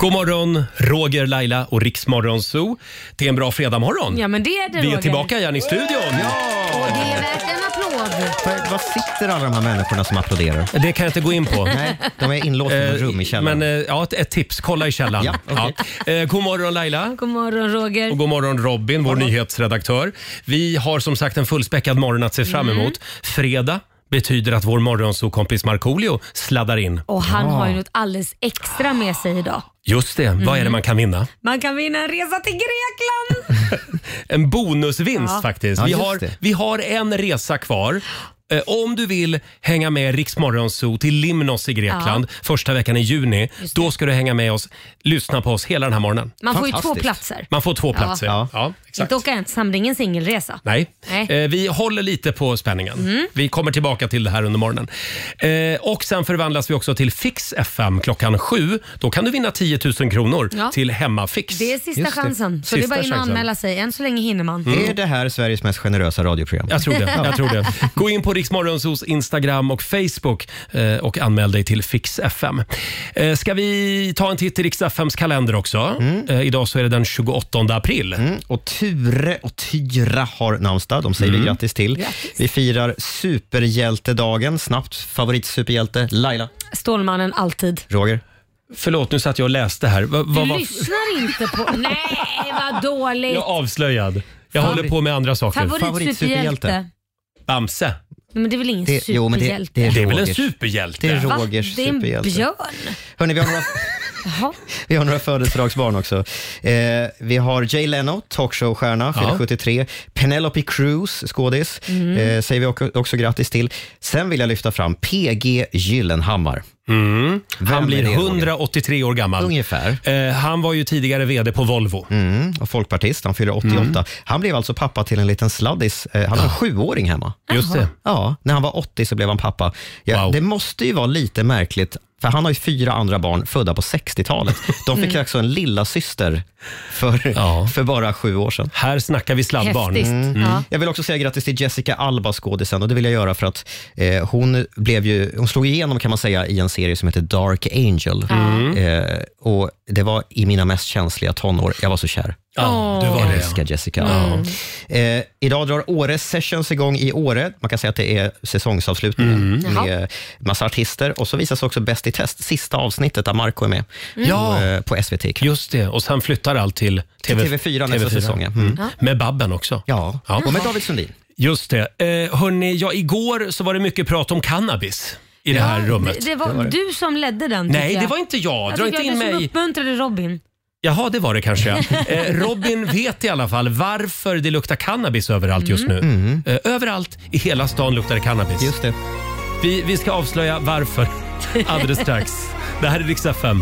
God morgon, Roger, Laila och Riksmorgonzoo. Det är en bra fredagmorgon. Ja men det är det vi är Roger. tillbaka igen i studion. Och det är värt en applåd. Var, var sitter alla de här människorna som applåderar? Det kan jag inte gå in på. Nej, de är inlåsta i ett rum i källaren. Men eh, ja, ett- ett tips, kolla i källaren. Ja, okej. Ja. Eh, God morgon Laila. God morgon Roger. Och god morgon Robin, vår nyhetsredaktör. Vi har som sagt en fullspäckad morgon att se fram emot. Fredag betyder att vår morgonsokompis Markoolio sladdar in. Och han har ju något alldeles extra med sig idag. Just det, vad är det man kan vinna? Man kan vinna en resa till Grekland! En bonusvinst Ja. faktiskt. Ja, vi, just har, det. vi har en resa kvar. Eh, Om du vill hänga med Rix Morgonzoo till Limnos i Grekland första veckan i juni, då ska du hänga med oss, lyssna på oss hela den här morgonen. Man får ju två Fantastiskt. platser. Man får två platser. Ja. exakt. Inte åka ensam, det är ingen singelresa. Nej. Nej. Mm. Eh, vi håller lite på spänningen. Vi kommer tillbaka till det här under morgonen. Eh, och sen förvandlas vi också till Fix FM klockan sju. Då kan du vinna 10 000 kronor Ja. till Hemmafix. Det är sista Just det. Mm. chansen. Så det är Sista bara in och chansen. anmäla sig. Än så länge hinner man. eh, Är det här Sveriges mest generösa radioprogram? Jag tror det. Jag tror det. Gå in på Riksmorgonsos Instagram och Facebook eh, och anmäl dig till Fix FM. Eh, Ska vi ta en titt i Rix FMs kalender också? Eh, Idag så är det den 28 april. Mm. Och Ture och Tyra har namnsdag. De Mm. säger vi grattis till. Vi firar superhjältedagen. Snabbt favoritsuperhjälte Laila. Stålmannen alltid. Roger. Förlåt, nu satt jag och läste här. Va, Du va, va, lyssnar inte på... Nej, vad dåligt! jag är avslöjad. Jag håller på med andra saker. Favoritsuperhjälte. Favoritsuperhjälte. Bamse. Nej, Men det är väl ingen Det- jo, men det- superhjälte? det är Det är väl en Rogers. superhjälte? Det är Va? Rogers Det är en superhjälte. björn. Hörrni, vi har några, Jaha. vi har några födelsedagsbarn också. Eh, vi har Jay Leno, talkshowstjärna, fyller Ja. Mm. 73. Penelope Cruz, skådis, eh, säger vi också, också grattis till. Sen vill jag lyfta fram PG Gyllenhammar. Mm. Han Vem är blir det, Roger? 183 år gammal. Ungefär. Eh, han var ju tidigare VD på Volvo. Mm, och folkpartist, han fyller 88. Mm. Han blev alltså pappa till en liten sladdis. Eh, Han har en sjuåring hemma. Just det. Ja, när han var 80 så blev han pappa. Ja, Wow. Det måste ju vara lite märkligt, för han har ju fyra andra barn födda på 60-talet. De fick ju också en lilla syster för, Ja. för bara sju år sedan. Här snackar vi sladdbarn. Häftigt. Ja. Jag vill också säga grattis till Jessica Alba, skådisen. Och det vill jag göra för att eh, hon, blev ju, hon slog igenom kan man säga i en serie som heter Dark Angel. Eh, och Det var i mina mest känsliga tonår. Jag var så kär. Ja, det var Jag det. ja. älskar Jessica Alba. Eh, idag drar Åre Sessions igång i Åre. Man kan säga att det är säsongsavslutningen med massa artister. Och så visas också Bäst i test, sista avsnittet där Marco är med Ja. på, eh, på SVT. Till Just det. Och sen flyttar allt till TV, TV4 nästa säsong. Ja. Mm. Med Babben också. Ja. Ja. och med David Sundin. Just det. Eh, hörni, ja, igår så var det mycket prat om cannabis i det här rummet. Det, det var du som ledde den tycker Nej, jag. det var inte jag. jag Dra tycker inte att in du som mig. uppmuntrade Robin. Jaha, det var det kanske. ja. eh, Robin vet i alla fall varför det luktar cannabis överallt just nu. Eh, överallt i hela stan luktar det cannabis. Mm. Just det. Vi, vi ska avslöja varför alldeles strax. Det här är riksdag 5.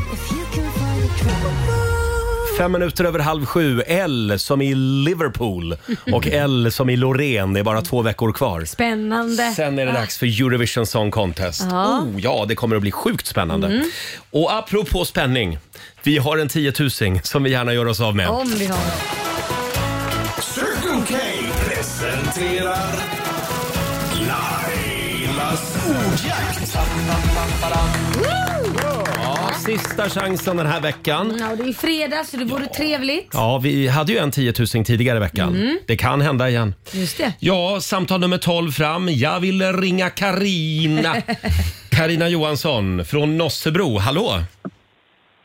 Fem minuter över halv sju. L som i Liverpool och L som i Loreen. Det är bara två veckor kvar. Spännande. Sen är det dags för Eurovision Song Contest. Ja. Mm. Oh, ja, det kommer att bli sjukt spännande. Och apropå spänning. Vi har en tiotusing som vi gärna gör oss av med. Om vi har. Circle K presenterar Lailas ordjakt. Ja, sista chansen den här veckan. Ja, och det är ju fredag så det vore trevligt. Ja, vi hade ju en 10 000 tidigare i veckan. Det kan hända igen. Just det. Ja, samtal nummer 12 fram. Jag vill ringa Karina. Karina Johansson från Nossebro. Hallå!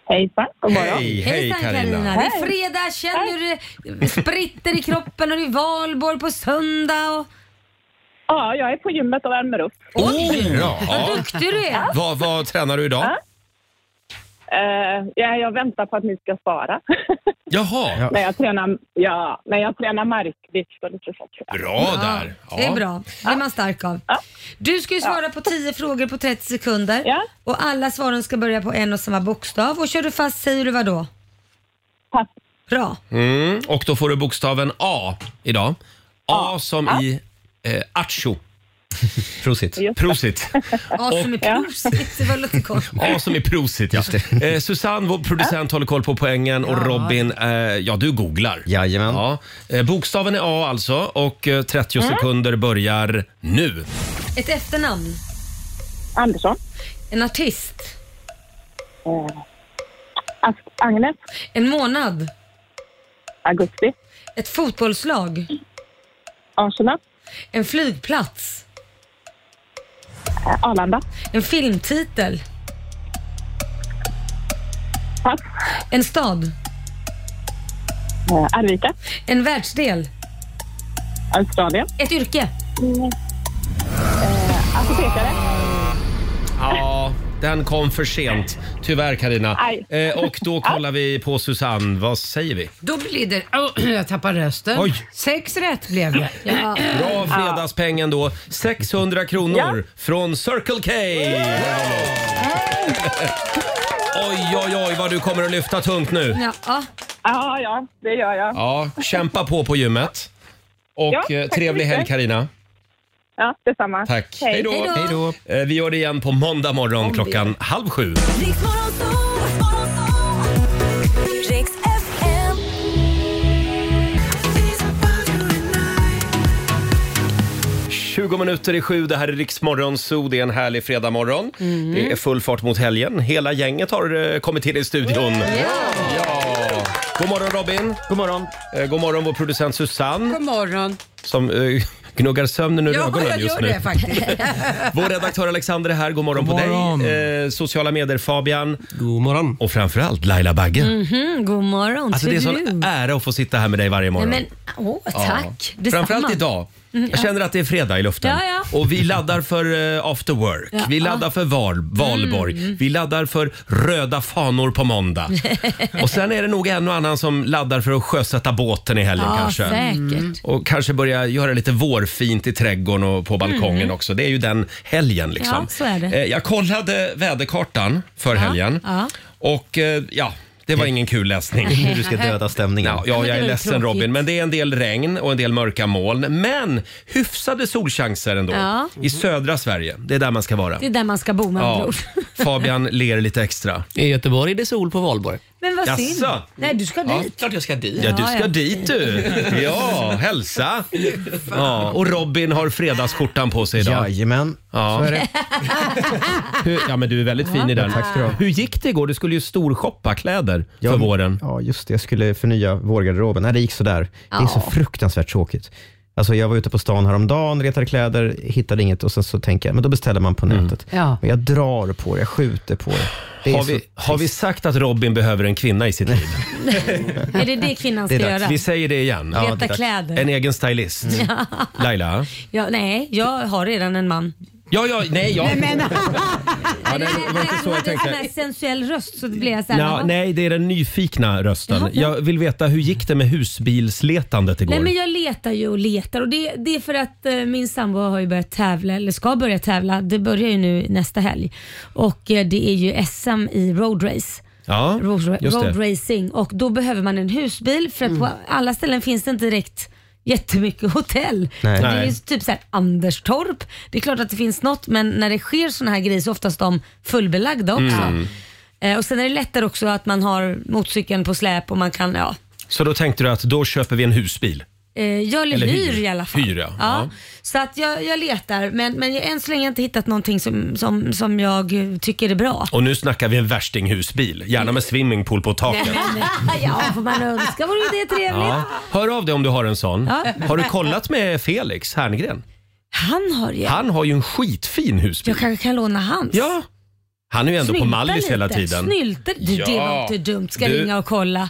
Hejsan, god morgon. Hej, hej Hejsan, Karina. Det är fredag, känner du det spritter i kroppen och det är valborg på söndag. Och... Ja, jag är på gymmet och värmer upp. Oh, ja. Vad duktig du är. Vad, vad tränar du idag? Eh, ja, jag väntar på att ni ska svara. Jaha, när, jag tränar, ja, när jag tränar marklyft och lite sånt. bra där. Ja, det är bra. Det är man stark av. Du ska ju svara på 10 frågor på 30 sekunder Ja. och alla svaren ska börja på en och samma bokstav. Och kör du fast säger du vad då? Pass. Bra. Mm, och då får du bokstaven A idag. A som i eh, Acho. Prosit. Prosit. A som är prosit, det var lite konstigt. A som är prosit, ja. Just det. Eh, Susanne, vår producent, håller koll på poängen och Robin, eh, ja du googlar. Jajamän. Ja. Eh, bokstaven är A alltså och eh, 30 sekunder börjar nu. Ett efternamn, Andersson. en artist, Eh, Ask, Agnes. en månad, Augusti. ett fotbollslag, Arsenal. en flygplats, Eh, Arlanda. en filmtitel, Pass. en stad, Eh, Arvika. en världsdel, Australien. ett yrke. Apotekare. Ja, den kom för sent. Tyvärr Karina. Aj. Eh, och då kollar vi på Susanne. Vad säger vi? Då blir det... Åh, jag tappar rösten. Oj. Sex rätt blev det. Ja. Bra fredagspengen då. 600 kronor från Circle K. Oj, oj, oj vad du kommer att lyfta tungt nu. Ja, ja. Ja, ja, det gör jag. Ja, kämpa på på gymmet. Och Ja, eh, tack så trevlig mycket. helg Karina. Ja, detsamma. Tack. Hej då. Hej då. Eh, Vi gör det igen på måndag morgon klockan halv sju. Riks FM. These about you and I. 20 minuter i sju, det här är Riksmorgon Zoo. Det är en härlig fredagmorgon. Det är full fart mot helgen. Hela gänget har eh, kommit till i studion. Ja. God morgon Robin. God morgon. Eh, God morgon vår producent Susanne God morgon. som eh, gnuggar sömnen ur Ja, ögonen jag just gör nu. det faktiskt. Vår redaktör Alexander är här. God morgon, God på morgon. dig. Eh, sociala medier Fabian God morgon. och framförallt Laila Bagge. Mm, god morgon Alltså det är till sån du. ära att få sitta här med dig varje Nej, morgon. men, åh, tack. Ja. Detsamma. Framförallt idag. Jag känner att det är fredag i luften. Mm, Ja, ja. Och vi laddar för eh, after work. Ja. Mm, Vi laddar för val, valborg. Vi laddar för röda fanor på måndag. och sen är det nog en och annan som laddar för att sjösätta båten i helgen Ja, kanske. Mm. säkert. Och kanske börja göra lite vårfint i trädgården och på balkongen också. Det är ju den helgen liksom. Mm, Ja, så är det. Eh, Jag kollade väderkartan för helgen. ja. Och eh, ja, det var ingen kul läsning. Du ska döda stämningen. Ja, ja jag det är var ju ledsen tråkigt. Robin, men det är en del regn och en del mörka moln. Men hyfsade solchanser ändå Ja. i södra Sverige. Det är där man ska vara. Det är där man ska bo med andra Ja. ord. Fabian ler lite extra. I Göteborg är det sol på valborg. Men vad Jaså? synd. Nej, du ska dit. Klart jag ska dit. Ja, du Ja, ska ja. dit du. Ja, hälsa. Ja, och Robin har fredagsskjortan på sig idag. Jajamän. Ja. Så är det. Hur, ja, men du är väldigt fin i den. Tack ska du ha. Hur gick det igår? Du skulle ju storshoppa kläder för våren. Ja, just det. Jag skulle förnya vårgarderoben. Nej, det gick sådär. Det är så Ja. fruktansvärt tråkigt. Alltså, jag var ute på stan häromdagen, retade kläder, hittade inget och sen så tänker jag, men då beställer man på nätet. Ja. Men jag drar på det, jag skjuter på det. det är Mm. Har så vi, har vi sagt att Robin behöver en kvinna i sitt liv? Är det det kvinnan ska Det är dags. göra? Vi säger det igen. Ja, det är Leta dags. kläder. En egen stylist. Laila? Ja, nej, jag har redan en man. Ja, ja, nej, ja. ja nej, det var inte så jag hade en sån tänkte. här sensuell röst så det blev jag så här, Nå, jaha. nej, det är den nyfikna rösten. Jag vill veta, hur gick det med husbilsletandet igår? Nej men jag letar ju och letar och det, det är för att eh, min sambo har ju börjat tävla, eller ska börja tävla. Det börjar ju nu nästa helg. Och eh, det är ju SM i roadrace. Ja, Road, just det. road racing och då behöver man en husbil för att på alla ställen finns det inte direkt jättemycket hotell. Nej. Det är ju Nej. typ såhär Anderstorp. Det är klart att det finns något men när det sker sådana här grejer så är oftast de fullbelagda Mm. också. Eh, och sen är det lättare också att man har motorcykeln på släp och man kan, ja. Så då tänkte du att då köper vi en husbil? Eh, jag Eller hyr, hyr. hyr i alla fall. Hyr, ja. Ja. Så att jag, jag letar men, men jag, än så länge har jag inte hittat någonting som, som, som jag eh, tycker är bra. Och nu snackar vi en värstinghusbil, gärna med swimmingpool på taket. ja, får man önska vore ju det trevligt. Ja. Hör av dig om du har en sån. Ja. Har du kollat med Felix Herngren? Han har ju Han har ju en skitfin husbil. Jag kanske kan låna hans. Ja. Han är ju ändå på Snylta Mallis lite. hela tiden. Snylta. Du, Det var Ja. inte dumt. Ska Du- ringa och kolla.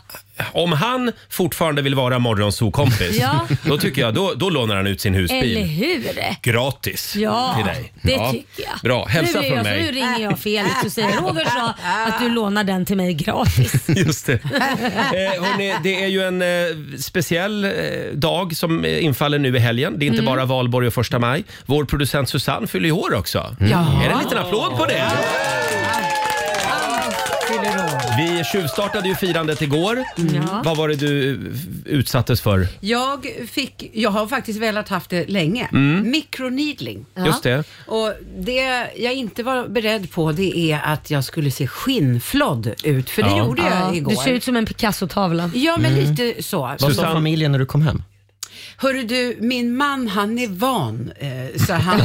Om han fortfarande vill vara morgonsokompis, Ja. då tycker jag då, då lånar han ut sin husbil. Eller hur? Gratis Ja, till dig. det Ja. tycker jag. Bra, hälsa nu, är från jag, mig. nu ringer jag Felix och säger Roger sa att du lånar den till mig gratis. Just det. Eh, hörni, det är ju en eh, speciell eh, dag som eh, infaller nu i helgen. Det är inte Mm. bara valborg och första maj. Vår producent Susanne fyller Mm. ju år också. Ja. Är det en liten applåd på det? Fyller år. Vi tjuvstartade ju firandet igår. Ja. Vad var det du eh, utsattes för? Jag, fick, jag har faktiskt velat haft det länge. Microneedling. Mm. Just det. Och det jag inte var beredd på det är att jag skulle se skinnflodd ut, för det Ja. Mm. gjorde jag Ja, igår. du ser ut som en Picasso-tavla. Ja, men lite så. Vad sa Susanne- familjen när du kom hem? Hörru du, min man han är van, eh, så han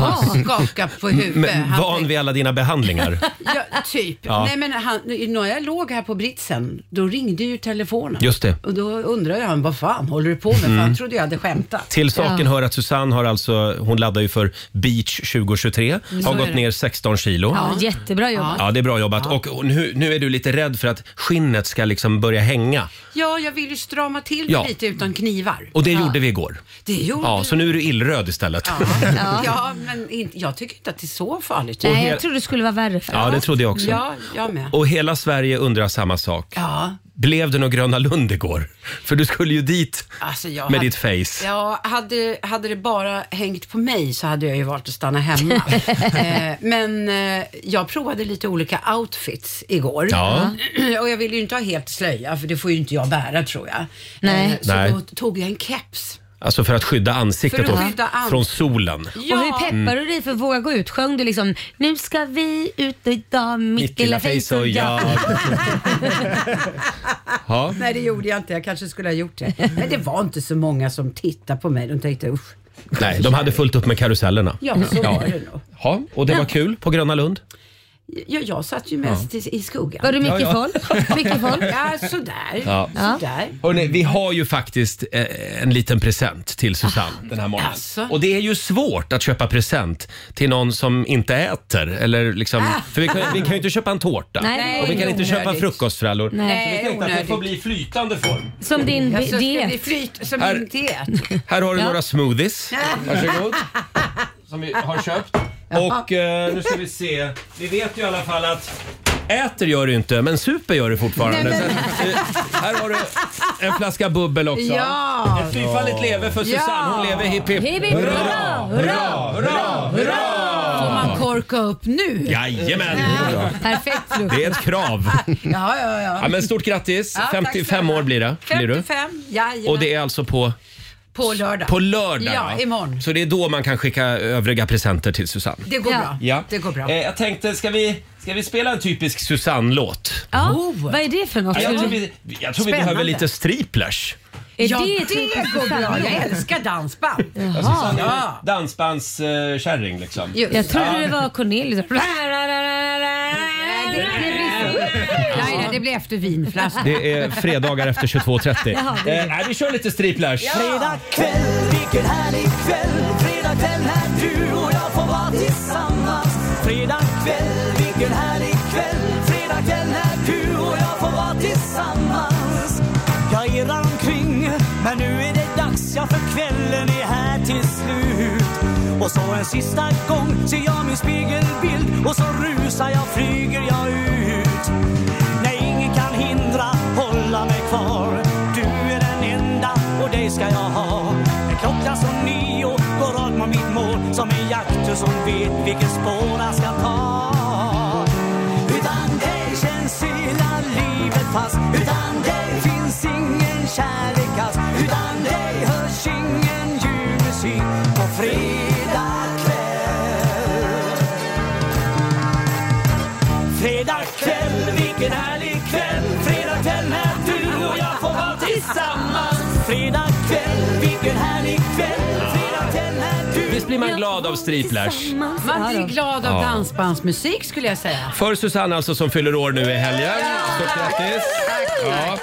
skakar på huvudet. Men, Han van vid alla dina behandlingar. Ja, typ. Nej, men han, när jag låg här på britsen, då ringde ju telefonen. Just Mm. det. Och då undrade han, vad fan håller du på med? För han trodde jag hade skämtat. Till saken hör att Susanne har alltså, hon laddar ju för Beach 2023, har gått ner 16 kilo. Ja, Ja. jättebra jobbat. det är bra jobbat. Och och nu, nu är du lite rädd för att skinnet ska liksom börja hänga. Ja, jag vill ju strama till det Ja. lite utan knivar. Och det gjorde vi igår. Det gjorde Ja, ja, så nu är du illröd istället. ja. men in, jag tycker inte att det är så farligt. Nej, hel- jag trodde det skulle vara värre för Ja, det trodde jag också. Ja, jag med. Och hela Sverige undrar samma sak. Ja, Blev det någon Gröna Lund igår? För du skulle ju dit alltså jag med hade- ditt face. Ja, hade, hade det bara hängt på mig så hade jag ju valt att stanna hemma. eh, men eh, jag provade lite olika outfits igår. Ja. Och jag ville ju inte ha helt slöja, för det får ju inte jag bära tror jag. Nej. Eh, så Nej. då tog jag en keps. Alltså för att skydda ansiktet För att då, skydda ans- från solen. Och hur peppar Mm. du dig för att våga gå ut? Sjöng du liksom “Nu ska vi ut idag, mitt lilla face och jag”? ja. Nej, det gjorde jag inte. Jag kanske skulle ha gjort det. Men det var inte så många som tittade på mig. De tänkte usch. Nej, de hade fullt upp med karusellerna. Ja, så var det nog. Mm. Ja, och det var kul på Gröna Lund. Ja, jag satt ju mest i, i skuggan. Var det mycket Ja, ja. folk? Mycket folk? Ja, sådär. Ja. sådär. Hörrni, vi har ju faktiskt eh, en liten present till Susanne den här morgonen. Ah. Alltså. Och det är ju svårt att köpa present till någon som inte äter. Eller liksom, Ah. för vi kan, vi kan ju inte köpa en tårta. Nej. och vi kan inte Onödigt. köpa frukostfrallor. Så vi Nej, tänkte att det får Eh, onödigt. bli flytande form. Som din Jag ska bli diet. flyt som Här- min diet. Här har du några smoothies. Varsågod. Som vi har köpt. Och eh, nu ska vi se. Vi vet ju i alla fall att äter gör du inte, men super gör du fortfarande. Så, eh, här har du en flaska bubbel också. Ja. Ett fyrfaldigt leve för Susanne. Hon lever hipp hipp. Hipp, hipp, hurra, hurra! Hurra, hurra! Får man korka upp nu? Jajamän! Perfekt frukost. Det är ett krav. Ja, ja, ja. Ja, men stort grattis! Ja, tack 55 snälla. år blir det. Blir du. 55, jajamän. Och det är alltså på, på lördag. på lördag? Ja, imorgon. Så det är då man kan skicka övriga presenter till Susanne. Det går Ja. bra. Det går bra. Eh, jag tänkte, ska vi, ska vi spela en typisk Susanne-låt? Ja, Oh. Vad är det för något? Ja, jag tror vi, jag tror vi Spännande. behöver lite striplers. Är ja, det det, typiskt går Susanne? bra. Jag älskar dansband. Jaha. Ja. Dansbandskärring liksom. Just. Jag trodde det Ja. var Cornelius. Nej, det, det blir så. Nej, nej, det blir efter vinflaska. Det är fredagar efter 22.30. Eh, nej, vi kör lite striplers. Fredag kväll, vilken härlig kväll Fredag kväll när du och jag får vara tillsammans Fredag kväll, vilken härlig kväll Fredag kväll när du och jag får vara tillsammans Jag irrar omkring, men nu är det dags Ja, för kvällen är här till slut Och så en sista gång ser jag min spegelbild Och så rusar jag, flyger jag ut Nej, ingen kan hindra, hålla mig kvar Du är den enda och dig ska jag ha När klockan som nio går rakt mot mitt mål Som en jakter som vet vilket spår han ska ta Utan dig känns hela livet fast Utan dig finns ingen kärlek alls Utan dig hörs ingen ljuv musik på fredag kväll Fredag kväll, vilken härlig kväll Fredag kväll när du och jag får vara tillsammans Fredag kväll, vilken härlig kväll Fredag kväll när du Visst blir man glad av striplers? Man Ja, blir då. glad av dansbandsmusik skulle jag säga. För Susanne alltså som fyller år nu i helgen. Stort grattis! Ja.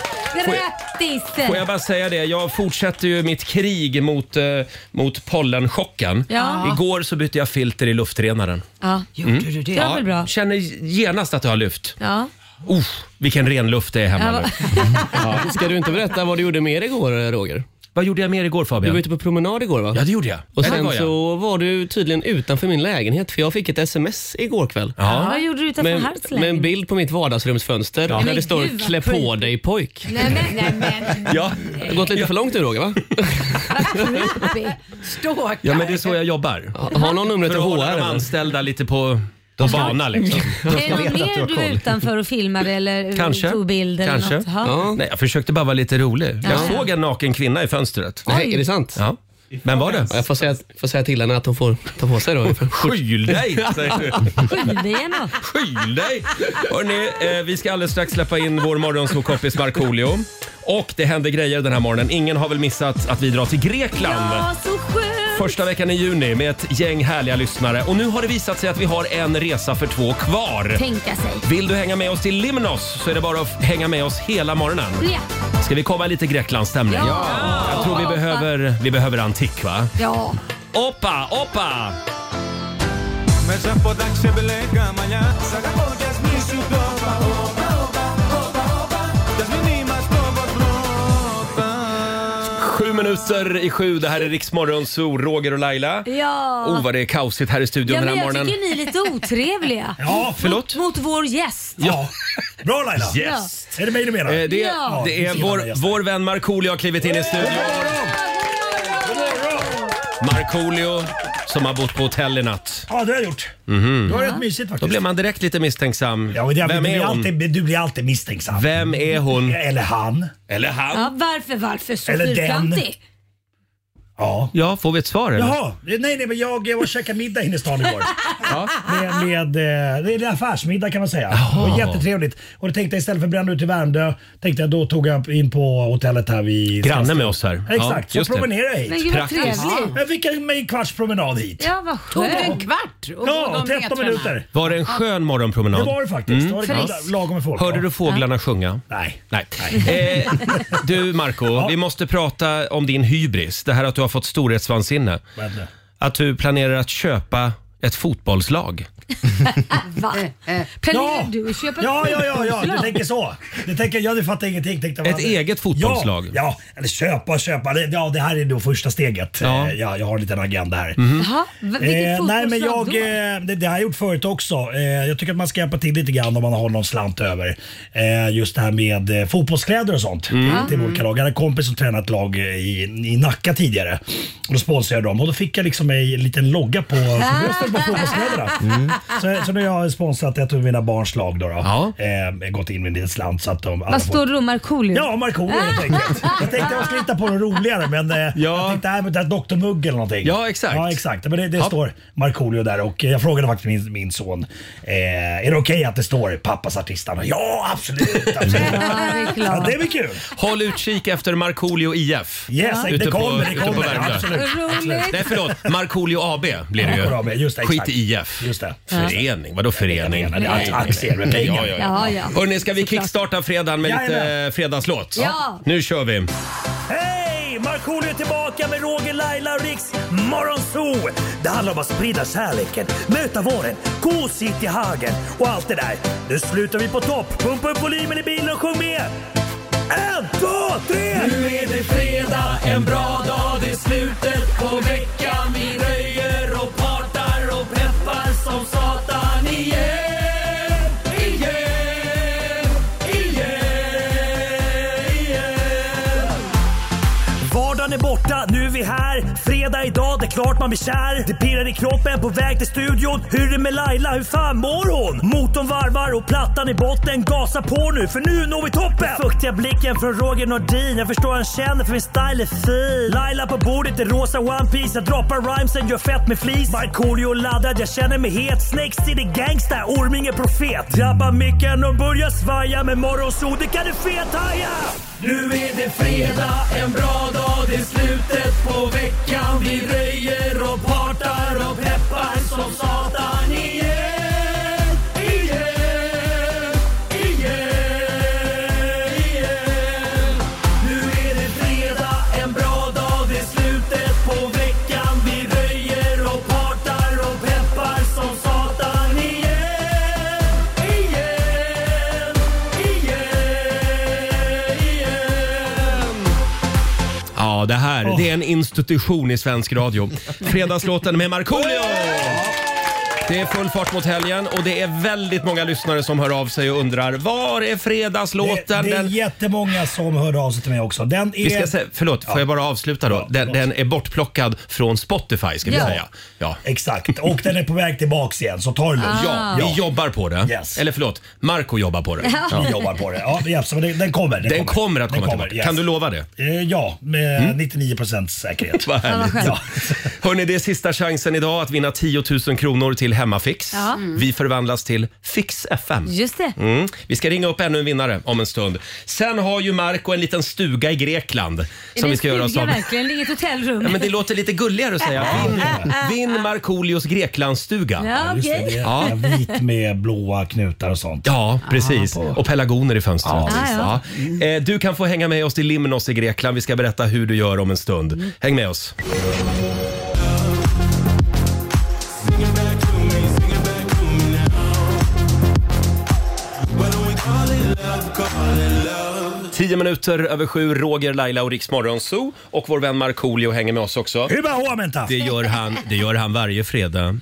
Får jag- Grattis! Får jag bara säga det, jag fortsätter ju mitt krig mot, eh, mot pollenchocken. Ja. Igår så bytte jag filter i luftrenaren. Ja, Gjorde du det? det var väl bra. Känner genast att det har lyft. Ja. Oh, vilken ren luft det är hemma Ja, nu. Ja. Ska du inte berätta vad du gjorde mer igår, Roger? Vad gjorde jag mer igår Du Fabian? var ute på promenad igår, va? Ja, det gjorde jag. Och Ja, det sen var jag. så var du tydligen utanför min lägenhet, för jag fick ett sms igår kväll. Vad gjorde du utanför Med, Harts med en lägenhet? bild på mitt vardagsrumsfönster där Men det står gud, vad “Klä på creepy." dig pojk”. Nej, men, nej, men Ja. Det har gått lite för långt nu Roger, va? ståkar. ja, men det är så jag jobbar. Har någon numret För till att HR? hålla de eller? anställda lite på De bana liksom. Är det veta någon att du mer har du koll. är utanför och filmade eller Kanske. tog bilder? Kanske. Eller något? Ja. Ja. Nej, jag försökte bara vara lite rolig. Jag Ja. såg en naken kvinna i fönstret. Nej, är det sant? Ja. Men var det? Ja, jag får säga, får säga till henne att hon får ta på sig då. Skyl dig! säger du. Skyll dig ändå. Skyl dig! Hörrni, eh, vi ska alldeles strax släppa in vår morgonsåkompis Markoolio. Och det händer grejer den här morgonen. Ingen har väl missat att vi drar till Grekland. Ja, så skönt. Första veckan i juni med ett gäng härliga lyssnare. Och nu har det visat sig att vi har en resa för två kvar. Tänka sig. Vill du hänga med oss till Limnos så är det bara att f- hänga med oss hela morgonen. Ja. Ska vi komma i lite Greklandsstämning? Ja. Jag tror vi behöver, vi behöver antik va? Ja. Oppa, oppa! Μέσα από τα ξεμπλέκα μαλλιά Σ' αγαπώ κι ας μη σου το πάω Όπα, όπα, όπα, όπα Κι ας μην είμαστε όπως πρώτα Sju minuter i sju, det här är Riksmorgon Zoo, Roger och Laila. Ja. Oh, vad det är kaosigt här i studion Ja, den men här jag morgonen. tycker ni är lite otrevliga. Ja, Förlåt? Mot vår gäst. Ja. Bra Laila! Yes! Är det mig du menar? Eh, Det, Ja. det är vår, vår vän Markoolio har klivit in i studion. Markoolio som har bott på hotell i natt. Ja, det har jag gjort. Det var rätt mysigt Då faktiskt. blev man direkt lite misstänksam. ja, men det, Vem du, är blir hon? alltid, Mm. du blir alltid misstänksam. Vem är hon? Eller han. Eller han? Ja, varför, varför så Eller den. fyrkantig? Ja. Ja, får vi ett svar eller? Jaha, nej nej men jag eh, var och käkade middag inne i stan igår. med, med, eh, det är en affärsmiddag kan man säga. Det var jättetrevligt. Och då tänkte jag istället för att bränna ut i Värmdö, tänkte jag då tog jag in på hotellet här vid... Granne med oss här. Exakt, Ja, så just det. promenerade jag Men hit. gud vad Praktiskt. trevligt. Jag fick en- en kvarts promenad hit. Ja, vad Ah. Tog det skönt. en kvart? Och Ja, gå de 13 metrarna? minuter. Var det en skön Det morgonpromenad? var det faktiskt. Det var Frisk. det lagom med folk. Mm. Hörde ja. du fåglarna sjunga? Nej. Nej. Eh, du Marco, vi måste prata om din hybris. Det här att du har fått storhetsvansinne. Vad hände? Att du planerar att köpa ett fotbollslag. Va? Eh, Planerar du att köpa ja, ett ja, ja, ja, fotbollslag? du tänker så. Du tänker, ja, du fattar ingenting. Tänkte, vad Ett hade- eget fotbollslag. Ja, ja, eller köpa, köpa. Det- Ja, det här är då första steget. Ja. Mhm. Ja. Ja, jag har en liten agenda här. Jaha, va- vilket Eh, nej, fotbollslag men jag, då? eh, det, det har jag gjort förut också. Eh, jag tycker att man ska hjälpa till lite grann om man har någon slant över. Eh, just det här med eh, fotbollskläder och sånt till olika lag. Jag hade en kompis som tränat ett lag eh, i, i Nacka tidigare. Och då sponsrade jag dem och då fick jag liksom en liten logga på, på bröstet på fotbollskläderna. Så, så nu har jag sponsrat ett av mina barns lag. Då, då. Ja. Eh, gått in med en liten slant så att de alla Vad får- står det då? Markoolio? Ja, Markoolio helt enkelt. Jag tänkte jag skulle hitta på något roligare men eh, jag tänkte nej, men det är Dr Mugg eller någonting. Ja, exakt. Ja, exakt. Men det, det Ja. står Markoolio där och eh, jag frågade faktiskt min, min son. Eh, är det okej att det står pappas artistnamn? Ja, absolut. absolut. Ja, det är ja, klart. det blir kul. Håll utkik efter Markoolio IF. Yes, Ute det på- kommer. ute Det på Värmdö. kommer. Absolut. Roligt. Nej förlåt, Markoolio AB blir det ju. Markoolio AB, just det, Skit exakt. i IF. Just det. Förening, vadå förening? Det är aktier med pengar. Ja, ja, ja. Ja, ja. Hörni, ska vi kickstarta fredagen med lite Jajamän. fredagslåt? Ja. Nu kör vi. Hej! Markoolio är tillbaka med Roger, Laila och Riks Morgonzoo! Det handlar om att sprida kärleken, möta våren, gosigt i hagen och allt det där. Nu slutar vi på topp! Pumpa upp volymen i bilen och sjung med! En, två, tre! Nu är det fredag, en bra dag, det är slutet på veckan. Vi röjer och partar och peppar som satan igen, igen, igen, igen. Vardagen är borta, nu är vi här. Fredag idag, det är klart man blir kär. Det pirrar i kroppen på väg till studion. Hur är det med Laila, hur fan mår hon? Motorn varvar och plattan i botten. Gasa på nu, för nu når vi toppen! Den Fuktiga blicken från Roger Nordin. Jag förstår han känner, för min style är fin. Laila på bordet i rosa One Piece Jag droppar rhymesen, gör fett med flis. Markoolio laddad, jag känner mig het. Snake City Gangsta, Orminge profet. Drabbar micken och börjar svaja. Med morgonsol, det kan du fethaja! Nu är det fredag, en bra dag, det är slutet på veckan. Vi röjer och partar och peppar som satan igen. Igen, igen, igen. Nu är det fredag, en bra dag, det är slutet på veckan. Vi röjer och partar och peppar som satan igen. Igen, igen, igen. Ja, det här det är en institution i svensk radio. Fredagslåten med Markoolio! Det är full fart mot helgen och det är väldigt många lyssnare som hör av sig och undrar var är Det, fredagslåten? det är Den... jättemånga som hörde av sig till mig också. Den är... Vi ska säga, förlåt, får jag bara avsluta då? Ja, Den, förlåt. den är bortplockad från Spotify ska vi Ja. säga. Ja. Exakt, och den är på väg tillbaks igen så ta det Ah. lugnt. Ja, vi jobbar på det. Yes. Eller förlåt, Marco jobbar på det. Vi jobbar på det. Ja, yes, men den, den kommer. Den kommer att Den komma tillbaka. yes. Kan du lova det? Eh, ja, med 99% säkerhet. Vad vad härligt. skönt. Ja. Hörni, det är sista chansen idag att vinna 10 000 kronor till Hemmafix. Ja. Mm. Vi förvandlas till Fix FM. Just det. Mm. Vi ska ringa upp ännu en vinnare om en stund. Sen har ju Marco en liten stuga i Grekland som är vi ska göra oss av. verkligen? Det är inget hotellrum? Ja, men det låter lite gulligare att säga vinn, vinn Markoolios Greklandsstuga. Ja, Just det, okej. det är Ja. en vit med blåa knutar och sånt. Ja, precis. Och pelargoner i fönstret. Ah, Ja, ja. Ja. Eh, Du kan få hänga med oss till Limnos i Grekland. Vi ska berätta hur du gör om en stund. Häng med oss. Tio minuter över sju, Roger, Laila och Riks Morgonzoo. Och vår vän Markoolio hänger med oss också. Hur bara håmenta? Det gör han, det gör han varje fredag. Mm.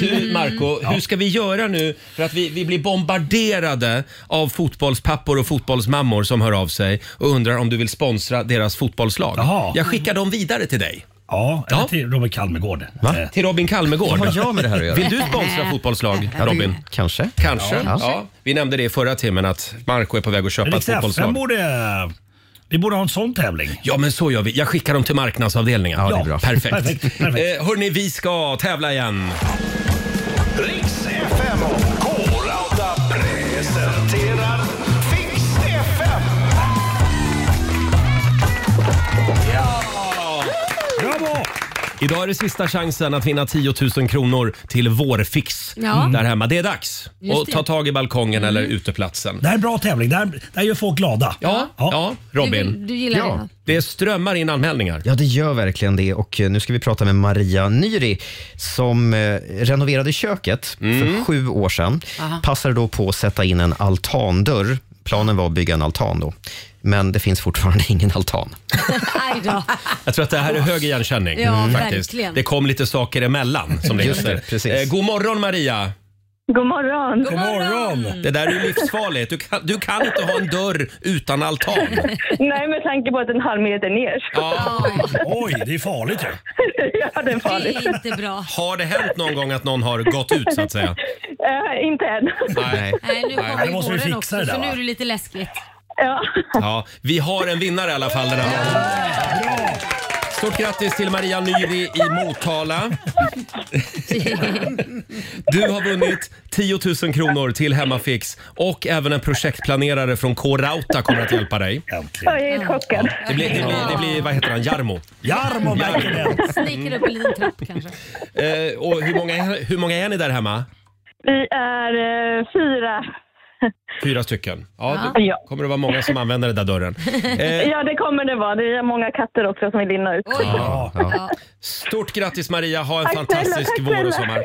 Du Marco, hur ska vi göra nu för att vi, vi blir bombarderade av fotbollspappor och fotbollsmammor som hör av sig och undrar om du vill sponsra deras fotbollslag. Jaha. Jag skickar dem vidare till dig. Ja, eller Ja. till Robert Kalmegård. Eh, Till Robin Kalmegård. Vad har jag med det här att göra? Vill du sponsra fotbollslag, Robin? Kanske. Kanske. Ja. Ja. Vi nämnde det i förra timmen att Marco är på väg att köpa ett Riks FM fotbollslag. borde... Vi borde ha en sån tävling. Ja, men så gör vi. Jag skickar dem till marknadsavdelningen. Ja, det är bra. Perfekt. Perfekt, perfekt. Eh, hörni, vi ska tävla igen. Riks FM och K-Rauta presenterar Fix FM. Bravo! Idag är det sista chansen att vinna 10 000 kronor till vårfix Ja. där hemma. Det är dags Just att det. Mm. ta tag i balkongen eller uteplatsen. Det här är en bra tävling. Det här, det här gör folk glada. Ja, ja. Du, Robin. du gillar Ja. det? Det strömmar in anmälningar. Ja, det gör verkligen det. Och eh, nu ska vi prata med Maria Nyri som eh, renoverade köket för sju år sedan. Passade då på att sätta in en altandörr. Planen var att bygga en altan då. Men det finns fortfarande ingen altan. Aj då. Jag tror att det här är hög igenkänning. Ja, Mm. faktiskt. verkligen. Det kom lite saker emellan som det Just det, heter. precis. Eh, god morgon Maria! God morgon. God morgon! Det där är ju livsfarligt. Du kan, du kan inte ha en dörr utan altan. Nej, med tanke på att en halv meter ner. Ja. Oj, det är farligt ju. ja, det är Det farligt. är inte bra. Har det hänt någon gång att någon har gått ut så att säga? Eh, inte än. Nej. Nej, nu kommer det ju måste vi våren fixa också, det där, så nu va? är det lite läskigt. ja. Ja, vi har en vinnare i alla fall den här morgonen. Bra! Stort grattis till Maria Nyri i Motala. Du har vunnit 10 000 kronor till Hemmafix och även en projektplanerare från K-Rauta kommer att hjälpa dig. Äntligen. Jag är helt chockad. Det blir, det blir, det blir vad heter han, Jarmo. Jarmo Mäkinen. Snickar upp en liten trapp kanske. Eh, och hur många, hur många är ni där hemma? Vi är eh, fyra. Fyra stycken. Ja, det Ja. kommer det vara många som använder den där dörren. Eh, ja, det kommer det vara. Det är många katter också som vill linna ut. Oj. Ja. Ja. stort grattis Maria, ha en Tack snälla, fantastisk tack vår och snälla. sommar.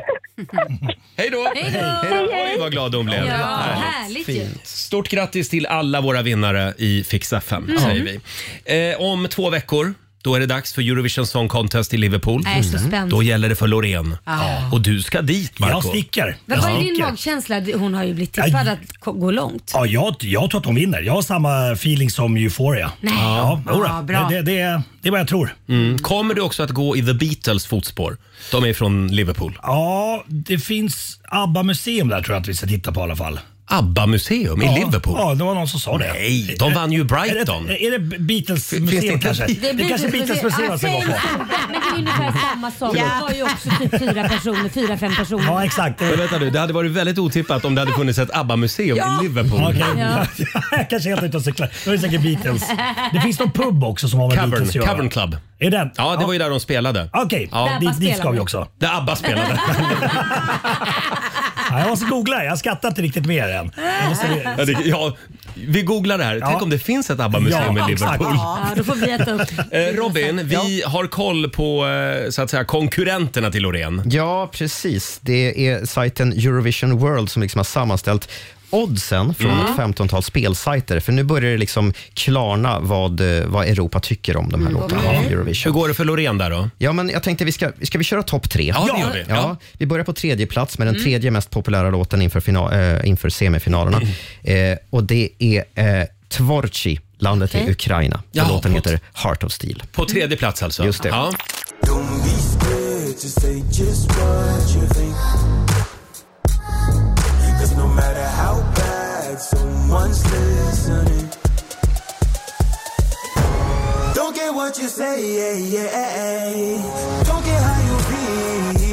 Hej då! Hej då! Oj, vad glad hon blev. Ja, härligt ju. Stort grattis till alla våra vinnare i Fix FM, Mm. säger vi. Eh, om två veckor, då är det dags för Eurovision Song Contest i Liverpool. Mm. Nej, så spänd. Då gäller det för Loreen. Ah. Och du ska dit, Jag Marco. sticker. Vad Jag var din sticker. magkänsla? Hon har ju blivit tippad att ko- gå långt. Ja, jag, jag tror att de vinner. Jag har samma feeling som Euphoria. Nej. Ja, jodå. Ja, bra. Det, det, det, det är vad jag tror. Mm. Kommer du också att gå i The Beatles fotspår? De är från Liverpool. Ja, det finns ABBA-museum där tror jag att vi ska titta på i alla fall. ABBA-museum i ja, Liverpool? Ja, det var någon som sa det. Nej, de vann ju Är Brighton. det, är det Finns det Beatles-museum inte- kanske? Det Det, är kanske är Beatles-museum Ah, man ska gå på. Men typ- det är ungefär samma sak. Det var ju också typ fyra personer, fyra, fem personer. Ja, exakt. Men vänta nu, det hade varit väldigt otippat om det hade funnits ett ABBA-museum i Liverpool. Okej, Ja. jag kanske är helt ute och cyklar. Då är det säkert Beatles. Det finns någon pub också som har med Cavern, Beatles att göra. Cavern Club. Är den? Ja, det var ju där de spelade. Okej, Ja. dit, dit spelar ska vi Ah. man. också. Där ABBA spelade. Ja, jag måste googla, jag skrattar inte riktigt mer än. Jag måste- Ja, det, ja, vi googlar det här. Tänk om det finns ett ABBA-museum Ja, i exakt. Liverpool. Ja, då får vi äta upp. Eh, Robin, vi har koll på eh, så att säga, konkurrenterna till Loreen. Ja, precis. Det är sajten Eurovision World som liksom har sammanställt oddsen från Mm. ett 15-tal spelsajter. För nu börjar det liksom klarna vad, eh, vad Europa tycker om de här Mm. låtarna Okej. i Eurovision. Hur går det för Loreen där då? Ja, men jag tänkte vi ska, ska vi köra topp tre? Ja, det gör vi. Ja. Ja. Vi börjar på tredje plats med den Mm. tredje mest populära låten inför, final, eh, inför semifinalerna. Eh, och det är eh, Tvorchi, landet i Mm. Okej. Ukraina. Ja, låten på- heter Heart of Steel. På tredje plats alltså? Just det. Ja. Don't be scared to say just what you think. Cause no matter how bad someone's listening, don't get what you say, yeah, yeah. Don't get how you feel.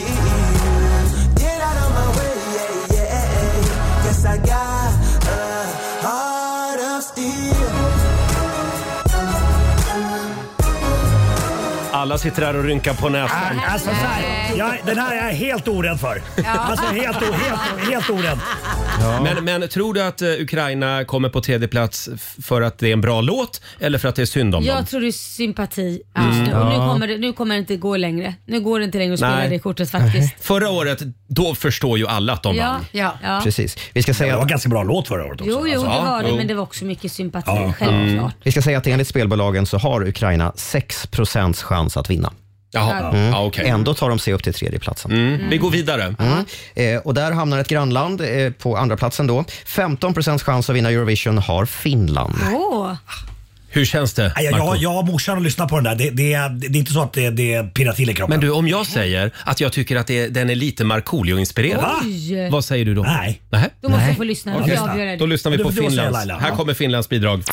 Get out of my way, yeah, yeah. Guess I got a heart of steel. Alla sitter här och rynkar på näsan. Alltså, så här, jag, den här är jag helt orädd för. Alltså helt, o- helt, o- helt orädd. Men, men tror du att eh, Ukraina kommer på tredje plats f- för att det är en bra låt eller för att det är synd om dem? Jag tror det är sympati Mm. just nu. Och nu, Ja. kommer det, nu kommer det inte gå längre. Nu går det inte längre att spela Nej. det kortet faktiskt. Förra året, då förstår ju alla att de ja, vann. Ja, ja. Precis. Vi ska säga... Det var ganska bra låt förra året Jo, jo, det Alltså, var det, men det var också mycket sympati, självklart. Mm. Vi ska säga att enligt spelbolagen så har Ukraina 6 chans att vinna. Jaha. Ja, okej. Ändå tar de sig upp till tredjeplatsen. Mm. Vi går vidare. Mm. Eh, och där hamnar ett grannland eh, på andra platsen då. 15 chans att vinna Eurovision har Finland. Ah. Åh. Hur känns det? Jag, Marco? jag, jag har morsan och lyssnat på den där. Det, det, är- det är inte så att det, det pirrar till i kroppen. Men du, om jag säger att jag tycker att det, den är lite Markoolio-inspirerad. Oj. Vad säger du då? Nej. Nej. Då måste jag få lyssna. Okej. Jag avgör det. Då lyssnar vi Då- på då säger Finlands. Laila. Här Ja. kommer Finlands bidrag.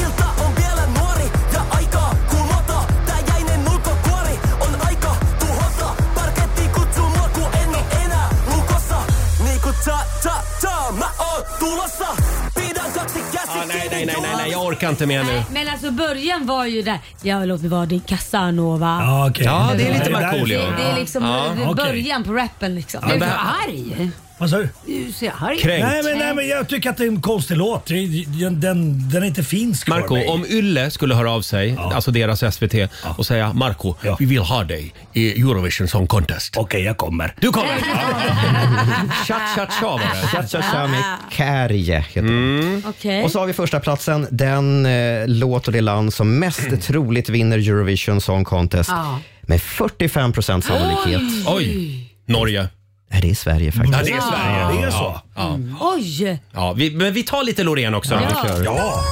Ilta on vielä nuori ja aikaa kulota. Tää jäinen mulkokuori on aika tuhota. Parketti kutsuu mua, kun en oo enää lukossa. Niinku cha cha cha, mä oon tulossa. Pidän kaksi käsi Ah, nej, nej, nej, nej, nej, kiinni jag orkar inte mer nu. Men alltså början var ju där, ja låt mig vara din Casanova. Ja, okej. Ja, det är lite Markoolio. Det, det är liksom Ja, det är okej. början på rappen liksom. Ja, men Du det är här- arg. Vad sa du? Du ser arg Kränkt. Nej men, nej, men jag tycker att det är en konstig låt. Det- Den, den, den är inte finsk för Marco, mig. om Ylle skulle höra av sig, alltså deras SVT, och säga Marco, vi vill ha dig i Eurovision Song Contest. Okej, jag kommer. Du kommer! Cha cha cha var det. Cha cha cha med Ah. Kärje heter den. Okej. Och så har vi första platsen den eh, låt och det land som mest troligt vinner Eurovision Song Contest Ja. med 45 sannolikhet. Oj! Norge. Nej, det är Sverige faktiskt. Ja, det är Sverige. Det är så. Ja, ja. Oj! Ja, vi, men vi tar lite Loreen också. Ja. Ja.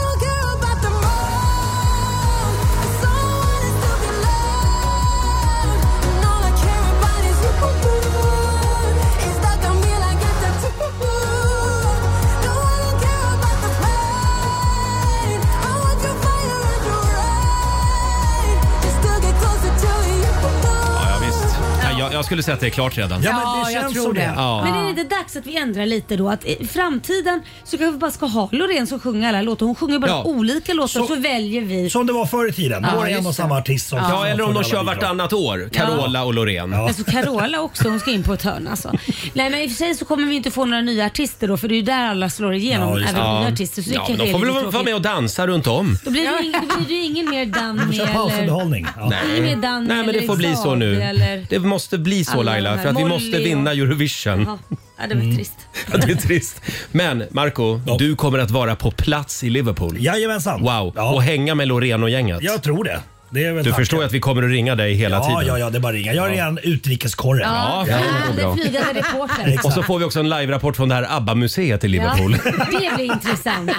Ja, ja, visst. Ja, jag, jag skulle säga att det är klart redan. Ja, men det känns som det. Ja. Men är det inte dags att vi ändrar lite då? Att i framtiden så kanske vi bara ska ha Loreen som sjunger alla låtar. Hon sjunger bara Ja. olika låtar så, Så- väljer vi. Som det var förr i tiden. Då Ja, var det en just och samma artist som... Ja, eller om de kör vartannat. vartannat år. Carola och Loreen. Alltså Carola också, hon ska in på ett hörn alltså. Nej men i och för sig så kommer vi inte få några nya artister då för det är ju där alla slår igenom. Ja, just även nya artister. Så det ja, kanske men de får är lite väl vara tråkigt. med och dansa runt om. Då blir det ju ing- då blir det ju ingen mer Danny Kör Mm, eller... pausunderhållning. Ja. Ingen mer Danny Nej, men det eller får bli Xavi så nu. Eller... Det måste bli så Alla de Laila, här. för att vi Molly måste och- vinna Eurovision. Ja, ja, det var Mm. trist. Det är trist. Men Marco, du kommer att vara på plats i Liverpool. Jajamensan. Wow, Ja. och hänga med Loreen och gänget. Jag tror det. det är väl Du tanken. förstår ju att vi kommer att ringa dig hela Ja, tiden. ja, ja, det är bara att ringa. Jag är redan utrikeskorre. Ja, ja, det går bra. Flygande, flygande reporter. Och så får vi också en live-rapport från det här ABBA-museet i Liverpool. Ja, det blir intressant.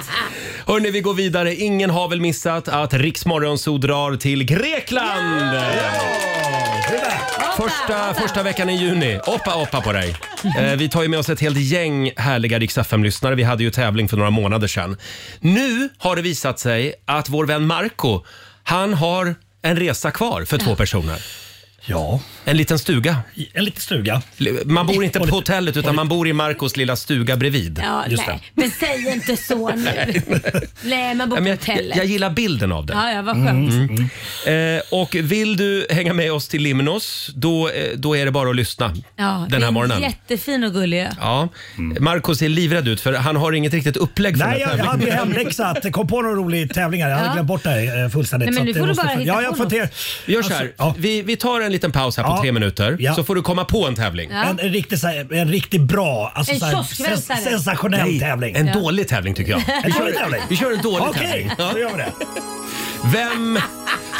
Hörni, vi går vidare. Ingen har väl missat att Riksmorgonzoo drar till Grekland! Första, första veckan i juni. Oppa, oppa på dig! Eh, vi tar ju med oss ett helt gäng härliga Rix lyssnare Vi hade ju tävling för några månader sedan. Nu har det visat sig att vår vän Marco, han har en resa kvar för två personer. Ja. En liten stuga. En liten stuga. Man bor inte på hotellet utan man bor i Marcos lilla stuga bredvid. Ja, Just nej. Men säg inte så nu. nej, man Ja, bor på men jag, hotellet. jag, jag gillar bilden av det. Ja, ja, vad skönt. Eh, och vill du hänga med oss till Limnos, då, eh, då är det bara att lyssna Ja, den det är här en morgonen. Jättefin och gullig ö. Ja. Marcus är livrädd ut för han har inget riktigt upplägg för Mm. Nej, den här jag, jag hade ju tävlingen. hemläxa att kom på några roliga tävlingar. Jag hade Ja. glömt bort det här eh, fullständigt. Nej, men så nu att får du det måste bara fun- hitta ja, på jag får något. till, Vi gör så här, Alltså, ja. vi, vi tar en liten paus här på Ja. tre minuter Ja. så får du komma på en tävling. Ja. En, en, riktigt, så här- en riktigt bra, alltså, En så här, kioskvältare. sens- sensationell tävling. En dålig tävling tycker jag. En dålig tävling. Vi kör en dålig Okej, tävling. då gör vi det. Vem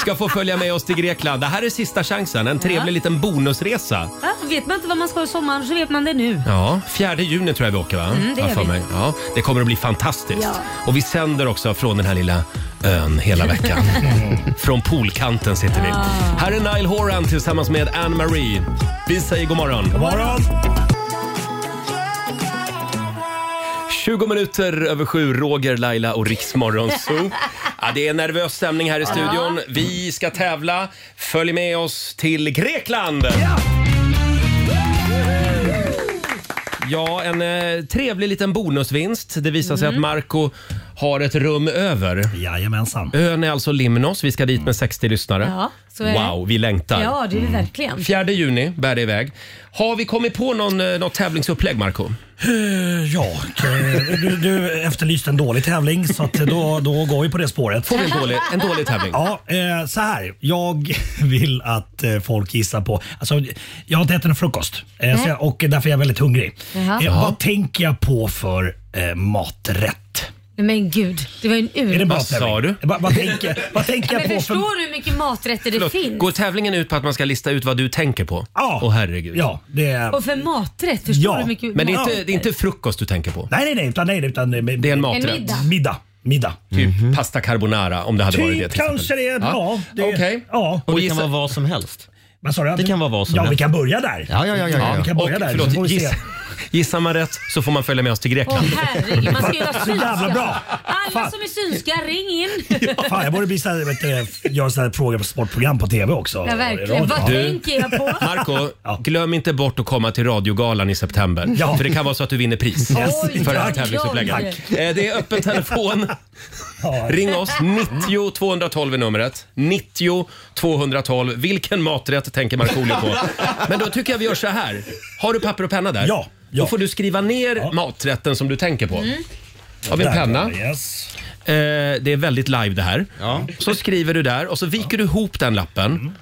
ska få följa med oss till Grekland? Det här är sista chansen, en trevlig Ja. liten bonusresa. Va? Vet man inte vad man ska i sommar så vet man det nu. Ja, 4 juni tror jag vi åker va? Mm, det Har gör för vi. mig. Ja, det kommer att bli fantastiskt. Ja. Och vi sänder också från den här lilla ön hela veckan. från poolkanten sitter vi. Här är Nile Horan tillsammans med Anne Marie. Vi säger god morgon. God morgon. 20 minuter över sju, Roger, Laila och Riksmorgon Zoo. Ja, det är nervös stämning här i studion. Vi ska tävla. Följ med oss till Grekland! Ja, en eh, trevlig liten bonusvinst. Det visar Mm. sig att Marco har ett rum över. Jajamensan. Ön är alltså Limnos. Vi ska dit med 60 lyssnare. Ja, så är det. wow, vi längtar. Ja, det är det verkligen. 4 juni bär det iväg. Har vi kommit på någon, eh, något tävlingsupplägg, Marco? Ja, eh, du, du efterlyste en dålig tävling så att då, då går vi på det spåret. Får vi en dålig, en dålig tävling? Ja, eh, så här. Jag vill att eh, folk gissar på... Alltså, jag har inte ätit någon frukost eh, så jag, och därför är jag väldigt hungrig. Jaha. Eh, vad tänker jag på för eh, maträtt? Men gud, det var ju en Är det ur... en bra Vad sa tävling? du? Va, vad tänker, vad tänker jag Men på för... förstår du hur mycket maträtter det Förlåt, finns? Går tävlingen ut på att man ska lista ut vad du tänker på? Ja. Åh, herregud. Ja, det är... Och för maträtt, förstår Ja, du hur mycket Men det är, inte, maträtter- det är inte frukost du tänker på? Nej, nej, nej. Utan, nej, nej, utan, Det är en maträtt? En middag. Middag. Middag. Typ pasta carbonara om det hade varit det Typ till exempel. kanske det. är- Ja. det- Okej. ja. Och det gissa- kan vara vad som helst. Vad sa du? Det kan vara vad som Ja, vi helst. kan börja där. Ja, ja, ja. ja, ja. Vi kan Och, börja där. så får förlåt, vi se. gissa, gissar man rätt så får man följa med oss till Åh Grekland. herregud, man ska ju vara Så synska. jävla bra. Alla Fan. som är synska, ring in. Fan, jag borde bli så här, vet du, göra sådana här frågor på sportprogram på TV också. Ja, verkligen. Radio. Vad Du- tänker jag på? Marco, Ja. glöm inte bort att komma till radiogalan i september. Ja. För det kan vara så att du vinner pris Oj, för det här tack. tävlingsupplägget. Tack. Eh, Det är öppen telefon. Ja. Ring oss, 90 212 är numret. 90 212. Vilken maträtt tänker Markoolio på? Men då tycker jag vi gör så här. Har du papper och penna där? Ja, ja. Då får du skriva ner maträtten som du tänker på. Har vi en Där, penna? Yes. Eh, det är väldigt live det här. Ja. Så skriver du där och så viker du ihop den lappen.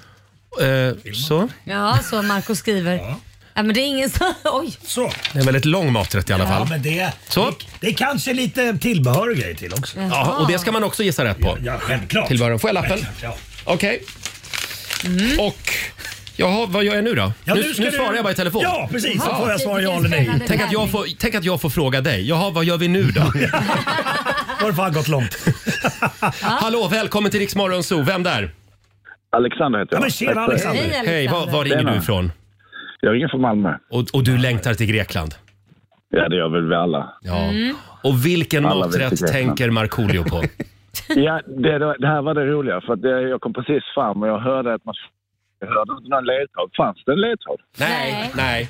Mm. Eh, så. Ja, så Marco skriver. Ja. men det är ingen som... Oj, Så. Det är en väldigt lång maträtt i alla Ja, fall. men det, Så. Det, det är kanske lite tillbehör och grejer till också. Ja, Ja, och det ska man också gissa rätt på. självklart. Tillbehören. Får jag lappen? Självklart, Ja. Mm. Okej. Och... Jaha, vad gör jag nu då? Ja, nu ska nu du- svarar jag bara i telefon. Ja, precis. Så Ja. får jag svara ja eller Vilken nej. spännande Tänk att, jag tävling. får, tänk att jag får fråga dig. Jaha, vad gör vi nu då? Då har det fan gått långt. Hallå, välkommen till Rix Morgon Zoo. Vem där? Alexander heter Ja, jag. men tjena Alexander. Hej Hej, var, var Alexander. ringer Tjena. du ifrån? Jag ringer från Malmö. Och, och du längtar till Grekland? Ja, det gör väl vi alla. Ja. Mm. Och vilken Alla vet till maträtt Grekland. tänker Markoolio på? Ja, det, det här var det roliga. För att det, jag kom precis fram och jag hörde att man... Jag hörde inte någon ledtråd. Fanns det en ledtråd? nej, Nej. nej.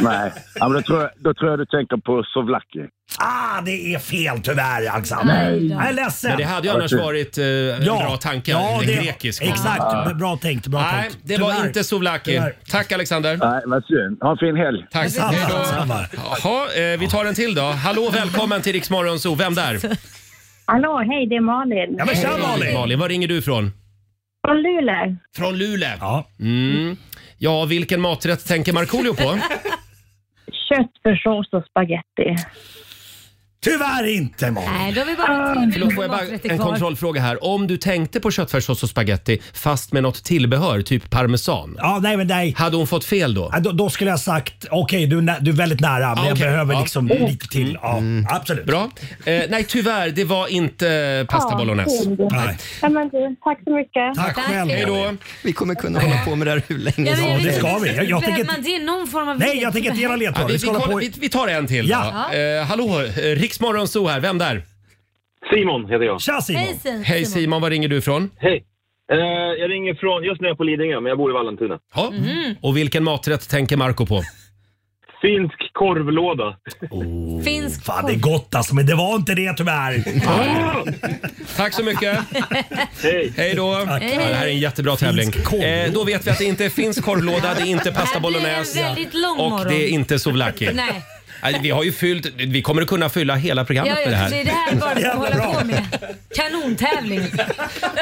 Nej. Ja, men då, tror jag, då tror jag du tänker på Sovlaki. Ah, det är fel tyvärr Alexander. Nej då. Jag är ledsen. Men det hade ju annars varit eh, en bra tanke. Ja, en det- grekisk. Exakt, bra tänkt. Bra Nej, tänkt. det var Tyvärr. inte souvlaki. Tyvärr. Tack Alexander. Nej, vad synd. Ha en fin helg. Tack. Samma, Hej då. samma. Jaha, eh, vi tar en till då. Hallå, välkommen till Rix Morgon Zoo. Vem där? Hallå, hej, det är Malin. Ja, men tja Malin! Malin, var ringer du ifrån? Från Luleå. Från Luleå. Ja, Ja, vilken maträtt tänker Markoolio på? Köttfärssås och spaghetti. tyvärr inte Malin. Nej, då har vi bara tre Förlåt, minuter får jag bara maträtter en kvar. kontrollfråga här. Om du tänkte på köttfärssås och spaghetti fast med något tillbehör, typ parmesan. Ja, nej men nej. Hade hon fått fel då? Ja, Då, då skulle jag sagt okej, du, är nä- du är väldigt nära men jag Ah, okej. behöver Ja. liksom lite till. Ja, absolut. Bra. Eh, nej, tyvärr, det var inte pasta bolognese. Nej. Ja, men du, tack så mycket. Tack Tack. själv Hej Malin. då. Vi kommer kunna hålla på med det här hur länge Ja, som men jag det vet ska inte. vi. Jag- jag Behöver tänker- man det? Någon form av Nej, jag tänker inte ge några Ja, ledtrådar. vi, Vi vi, ska hålla kollar- på vi, i- vi tar en till Ja. då. Eh, hallå, eh, Riksmorgon Zoo här. Vem där? Simon heter jag. Tja Simon! Hej Simon. Hej Simon, var ringer du ifrån? Hej. Eh, jag ringer från, just nu är jag på Lidingö, men jag bor i Vallentuna. Ja. Mhm. Och vilken maträtt tänker Marco på? Finsk korvlåda. Finsk Fan, det är gott alltså, men det var inte det tyvärr. Tack så mycket. Hej. Hej då. Tack. Ja, det här är en jättebra tävling. Eh, då vet vi att det inte är finsk korvlåda, det är inte pasta Det här blir en bolognese väldigt lång och morgon. det är inte souvlaki. Nej. Nej, Vi har ju fyllt, vi kommer att kunna fylla hela Ja, programmet ja, med det det är det här. här bara för att hålla på med. Kanontävling.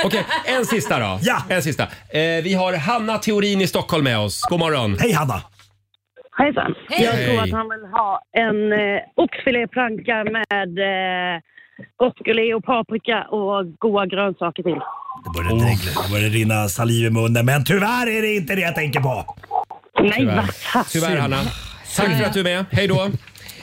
Okej, en sista då. Ja. En sista. Eh, vi har Hanna Theorin i Stockholm med oss. God morgon. Hej Hanna. Hejsan. Hej. Jag tror Hej. att han vill ha en eh, oxfiléplanka med eh, broccoli och paprika och goda grönsaker till. Det började, dregla, det började rinna saliv i munnen, men tyvärr är det inte det jag tänker på. Tyvärr, Tyvärr Hanna. Tack för att du är med. Hej då.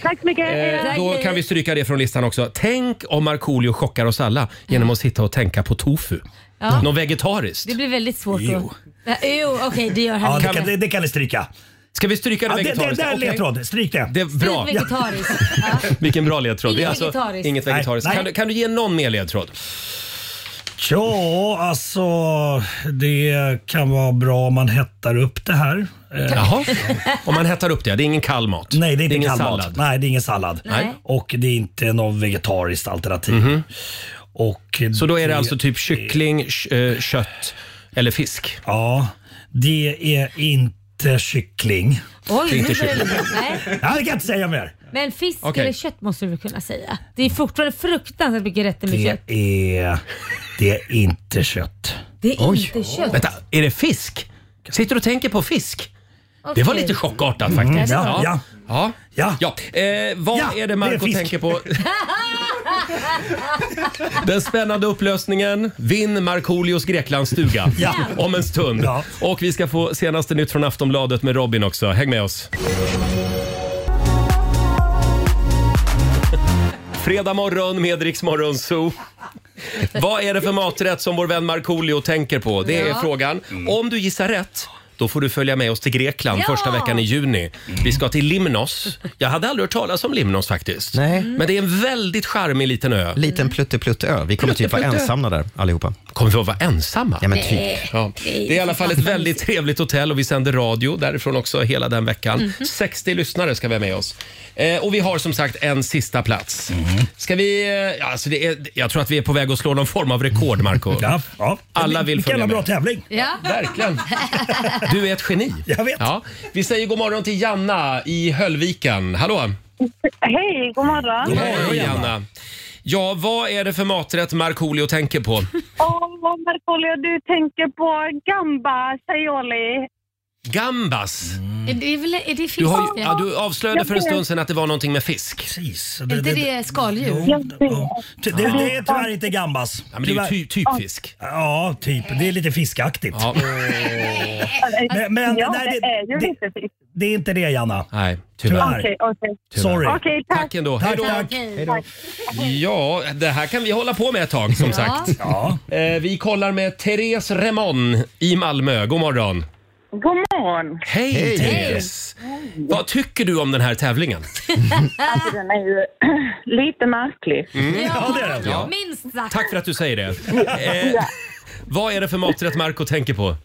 Tack så mycket. Eh, då kan vi stryka det från listan också. Tänk om Markoolio chockar oss alla genom att sitta och tänka på tofu. Ja. Något vegetariskt. Det blir väldigt svårt då. Ja, Jo, okej det gör han Ja, det inte. kan- det- Det kan ni stryka. Ska vi stryka det Ja, det- det- vegetariskt? det är en Okej. ledtråd. Stryk det. det är bra. Fint vegetariskt. Vilken bra ledtråd. Det är Inget alltså vegetariskt. inget Nej, vegetariskt. nej. Kan, du, kan du ge någon mer ledtråd? Ja, alltså det kan vara bra om man hettar upp det här. Eh, Jaha. Om man hettar upp det, det är ingen kall mat. Nej, det är inte ingen kall sallad. mat. Nej, det är ingen sallad. Nej. Och det är inte något vegetariskt alternativ. Och Mhm. Så då är det alltså typ kyckling, k- eh, kött eller fisk? Ja, det är inte kyckling. Oj, det är nu börjar det- nej. Nej, det kan jag inte säga mer. Men fisk Okej. eller kött måste du väl kunna säga? Det är fortfarande fruktansvärt mycket rätter med Det kött. är, det är inte kött. Det är inte kött. Vänta, är det fisk? Sitter du och tänker på fisk? Det var Okej. lite chockartat faktiskt. Mm, ja, ja. ja. ja. Eh, vad Ja, är det det är Marco fisk. tänker på? Den spännande upplösningen. Vinn Markoolios Greklandsstuga Ja. om en stund. Och vi ska få senaste nytt från Aftonbladet med Robin också. Häng med oss. Fredag morgon med Rix Morgon Zoo. Vad är det för maträtt som vår vän Markoolio tänker på? Det är Ja. frågan. Om du gissar rätt då får du följa med oss till Grekland första veckan i juni. Vi ska till Limnos. Jag hade aldrig hört talas om Limnos faktiskt. Nej. Men det är en väldigt charmig liten ö. Liten pluttepluttö. Vi kommer typ vara Pluttepluttö. ensamma där allihopa. Kommer vi att vara ensamma? Ja, men typ. Nej. Ja. Det är i alla fall ett väldigt trevligt hotell och vi sänder radio därifrån också hela den veckan. Mhm. 60 lyssnare ska vi ha med oss. Eh, och vi har som sagt en sista plats. Ska vi... eh, ja, Alltså det är, jag tror att vi är på väg att slå någon form av rekord, Marco Ja, Alla vill Vilken följa jävla bra med. tävling. Ja. Verkligen. Du är ett geni. Jag vet. Ja. Vi säger god morgon till Janna i Höllviken. Hallå! Hej, god morgon. Hej Janna. Ja, vad är det för maträtt Markoolio tänker på? Åh, Markoolio, du tänker på gamba aioli. Gambas. Är det, väl, är det fisk? Du, har, ju- det? ja, du avslöjade för en stund sedan att det var någonting med fisk. Precis. Är inte det skaldjur? Det, det, det är tyvärr inte gambas. men det är ju ty- typ fisk. Ja, typ. Det är lite fiskaktigt. Men, men- ja, nej, det, är ju lite fisk. Det är inte det, Janna. Nej, tyvärr. Okej, okej. Sorry. Okej, tack. Tack ändå. Hej då. Hej då. Ja, det här kan vi hålla på med ett tag som Ja. sagt. Eh, vi kollar med Therese Remon i Malmö. God morgon. God morgon. Hej, Hej. Therese. Vad tycker du om den här tävlingen? Alltså, den är ju lite märklig. Mm. Ja, det är den. Ja. Minst sagt. Tack för att du säger det. Ja. Eh, vad är det för maträtt Marco tänker på?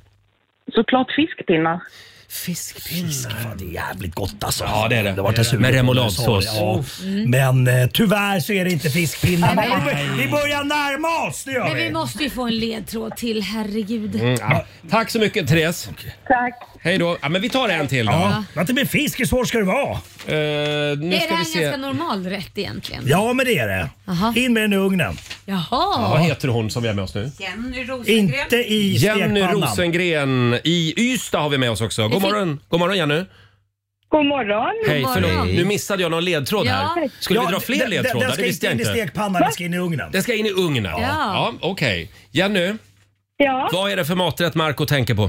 Såklart fiskpinnar. Fiskpinnar? det är jävligt gott alltså. Ja, det är det. var jag sugen Med på, remouladsås. Mm. sorry. Ja. Men eh, tyvärr så är det inte fiskpinnar. Men vi bör- vi börjar närma oss, det gör Men vi. vi måste ju få en ledtråd till, herregud. Mm, ja. Tack så mycket Therese. Tack. Hej då. Ja, men vi tar en till då. Eh, Ja, att det blir fisk, hur svårt ska det vara? nu är det ska här vi en se. ganska normal rätt egentligen? Ja, men det är det. In med den i ugnen. Ja, Jaha. vad heter hon som vi har med oss nu? Jenny Inte i Jenny stekpannan. Rosengren i Ystad har vi med oss också. God fick- morgon, God morgon Jenny. God morgon. Hej, morgon. förlåt. Hej. Nu missade jag någon ledtråd Ja. här. Skulle vi Ja, dra fler den- den- ledtrådar? den ska det visste jag inte in i stekpannan, den ska in i ugnen. Den ska in i ugnen? Ja. Ja. ja Okej. Jenny, Ja. vad är det för maträtt Marco tänker på?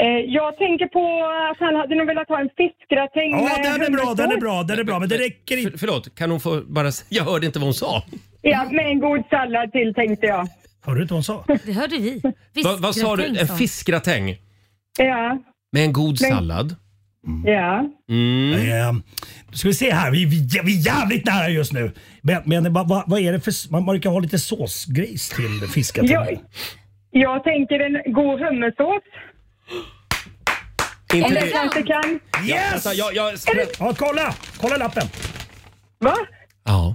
Eh, jag tänker på att han hade nog velat ha en fiskgratäng Ja, den är bra, den är hummersås. bra, den är bra. Men det räcker inte. För, förlåt, kan hon få bara... s- Jag hörde inte vad hon sa. Ja, med en god sallad till tänkte jag. Hörde du inte vad hon sa? Det hörde vi. Va, vad sa du? Eh, En fiskgratäng? Ja. Med en god Men- sallad? Ja. Mm. Eh, nu ska vi se här, vi, vi, vi är jävligt nära just nu. Men, men vad, vad, vad är det för... Man brukar ha lite såsgrejs till fiskatullarna. Jag, Jag tänker en god hummersås. Inte Om jag det. kanske kan. Yes! Ja, jag, jag, ja, kolla! Kolla lappen. Va? Ja.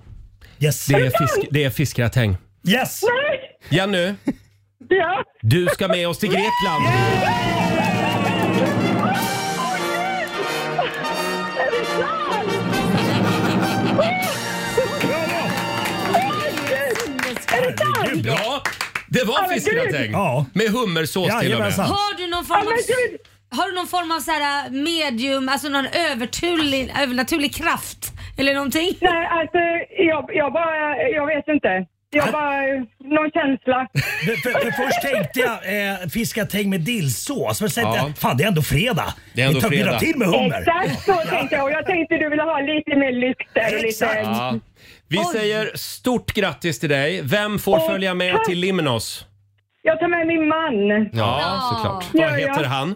Yes. Det, är fisk, det är fiskgratäng. Yes! Nej! Jenny, Ja! du ska med oss till Grekland. Herregud, Ja, det var fiskgratäng. Med hummersås till och med. Har du någon form av, har du någon form av så här eh, medium, alltså någon överturlig, övernaturlig kraft? Eller någonting? Nej, alltså jag, jag bara, jag vet inte. Jag bara, någon känsla. För, för, för först tänkte jag eh, fiskatäng med dillsås, men sen Ja. tänkte jag fan det är ändå fredag. Det är ändå vi tar fredag. fredag. till med hummer. Exakt så tänkte jag och jag tänkte du ville ha lite mer lyx där och lite... Ja. Vi Oj. säger stort grattis till dig. Vem får Åh, följa med tack. till Limnos? Jag tar med min man. Ja, såklart. Ja, Vad ja. heter han?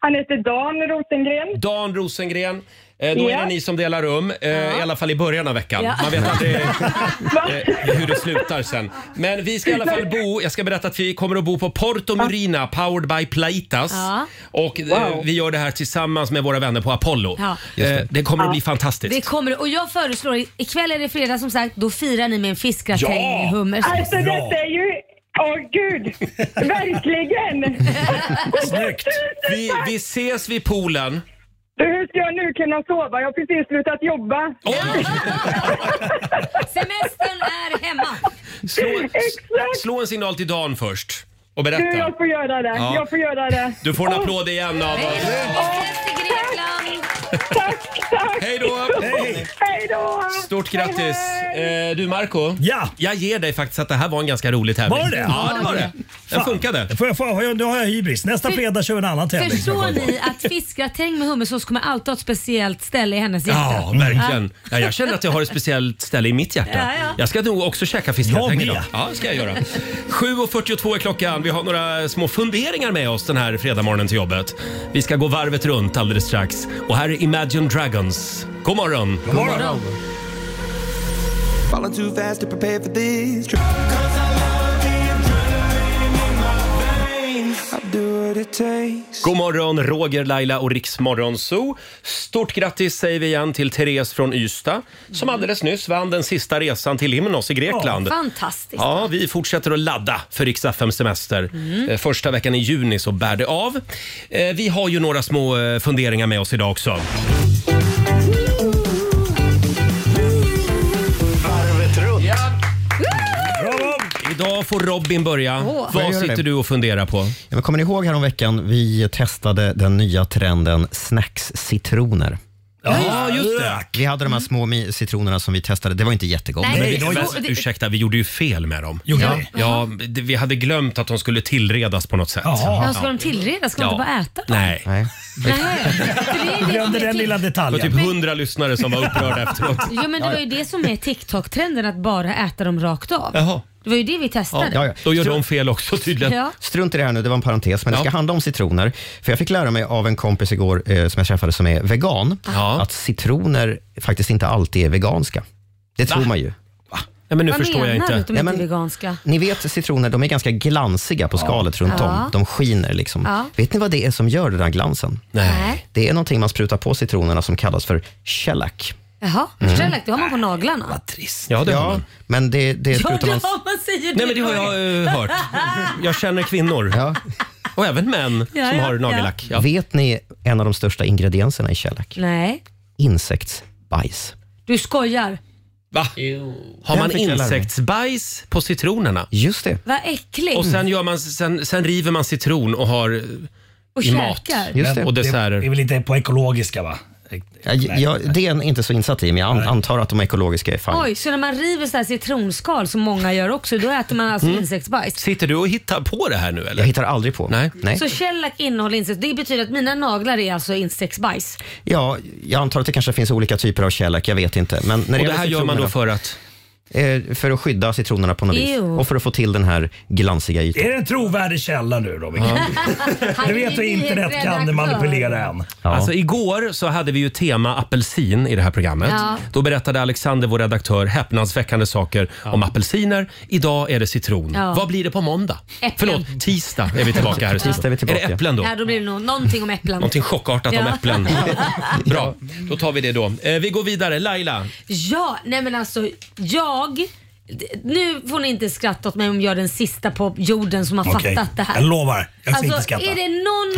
Han heter Dan Rosengren. Dan Rosengren. Eh, då är Ja. det ni som delar rum, eh, i alla fall i början av veckan. Ja. Man vet aldrig eh, hur det slutar sen. Men vi ska i alla fall bo, jag ska berätta att vi kommer att bo på Porto Murina, powered by Plaitas. Ja. Och eh, Wow. vi gör det här tillsammans med våra vänner på Apollo. Ja. Eh, det kommer att bli Ja. fantastiskt. Det kommer och jag föreslår, i- ikväll är det fredag som sagt, då firar ni med en fiskgratäng Ja! med hummer. Alltså detta är ju... Åh gud! Verkligen! Snyggt! Vi, vi ses vid poolen. Du, hur ska jag nu kunna sova? Jag har precis slutat jobba. Semestern är hemma. Slå, slå en signal till Dan först och Du, berätta. jag får göra det. Ja. Jag får göra det. Du får en applåd igen av Hej oss. Tack, tack! Hej då! Hej! Hej då! Stort grattis! Eh, du Marco, ja. jag ger dig faktiskt att det här var en ganska rolig tävling. Var det? Ja, det var det. Den Fan. funkade. Får jag, får jag, nu har jag hybris. Nästa För- fredag kör vi en annan tävling. Förstår ni att fiskgratäng med hummersås kommer alltid ha ett speciellt ställe i hennes hjärta? Ja, verkligen. Ja, jag känner att jag har ett speciellt ställe i mitt hjärta. Ja, ja. Jag ska nog också käka fiskgratäng Jag idag. med. Ja, det ska jag göra. 7.42 är klockan. Vi har några små funderingar med oss den här fredagmorgonen till jobbet. Vi ska gå varvet runt alldeles strax. Och här är Imagine Dragons. God morgon! God morgon. Falling too fast to prepare for this. God morgon, Roger, Laila och Riksmorgon Zoo. Stort grattis säger vi igen till Therese från Ystad som alldeles nyss vann den sista resan till Limnos i Grekland. Fantastiskt. Ja, vi fortsätter att ladda för Rix FM semester. Eh, Första veckan i juni så bär det av. Eh, Vi har ju några små eh, funderingar med oss idag också. Idag får Robin börja. Åh. Vad Jag gör det. sitter du och funderar på? Ja, men kommer ni ihåg häromveckan vi testade den nya trenden snackscitroner? Ja, just det. Vi hade Mm. de här små mi- citronerna som vi testade. Det var inte jättegott. Nej, men, men, ursäkta, vi gjorde ju fel med dem. ja, vi? ja, det- vi hade glömt att de skulle tillredas på något sätt. Ja, ska de tillreda? Ska de Ja. inte bara äta? Nej. För det är det som är till- Det var typ hundra lyssnare som var upprörda efteråt. Jo men det var ju det som är TikTok-trenden, att bara äta dem rakt av. Jaha. Det var ju det vi testade. Då gör de fel också tydligen. Ja. Strunt i det här nu, det var en parentes, men det ska handla om citroner. För Jag fick lära mig av en kompis igår eh, som jag träffade som är vegan, att citroner faktiskt inte alltid är veganska. Det tror man ju. Nej, men Vad menar du att de Nej, inte är men, veganska? ni vet citroner, de är ganska glansiga på skalet runt Ja. om. De skiner liksom. Ja. Vet ni vad det är som gör den här glansen? Nej. Det är någonting man sprutar på citronerna som kallas för shellac. Jaha, Mm. shellac det har man på naglarna. Vad trist. Ja, det har man. Men det, det Ja, sprutar det man... har man säger Nej, men det har jag eh, hört. Jag känner kvinnor. Och även män Ja, som ja, har ja. nagellack. Ja. Vet ni en av de största ingredienserna i shellac? Nej, Insektsbajs. du skojar. Va? Har Den man fick jag lära mig. insektsbajs på citronerna? Just det. Vad äckligt. Och sen, gör man, sen, sen river man citron och har eh, Och i mat. käkar. Just det. Och desserter. Det är väl inte på ekologiska va? Ja, jag, det är jag inte så insatt i, men jag an, antar att de ekologiska är fan. Oj, så när man river så här citronskal som många gör också, då äter man alltså Mm. insektsbajs? Sitter du och hittar på det här nu eller? Jag hittar aldrig på. Nej. Så shellac innehåller insekt. Det betyder att mina naglar är alltså insektsbajs. Ja, jag antar att det kanske finns olika typer av shellac, jag vet inte. Men när Och gäller det här gör man citronerna- då för att? eh, för att skydda citronerna på något vis. Ew. Och för att få till den här glansiga ytan. Är det en trovärdig källa nu då, Micke? Han Du är vet hur internet kan nyhetsredaktör. manipulera en. Alltså igår så hade vi ju tema apelsin i det här programmet. Ja. Då berättade Alexander, vår redaktör, häpnadsväckande saker om apelsiner. Idag är det citron. Ja. Vad blir det på måndag? Äpplen. Förlåt, tisdag är vi tillbaka här. i studion. Tisdag är vi tillbaka. det äpplen då? Ja, då blir det nog någonting om äpplen. Någonting chockartat om Ja. äpplen. Bra, då tar vi det då. Eh, Vi går vidare. Laila, Ja, nej men alltså jag... Nu får ni inte skratta åt mig om jag är den sista på jorden som har Okej, fattat det här. jag lovar. Jag ska alltså, inte skratta. Är det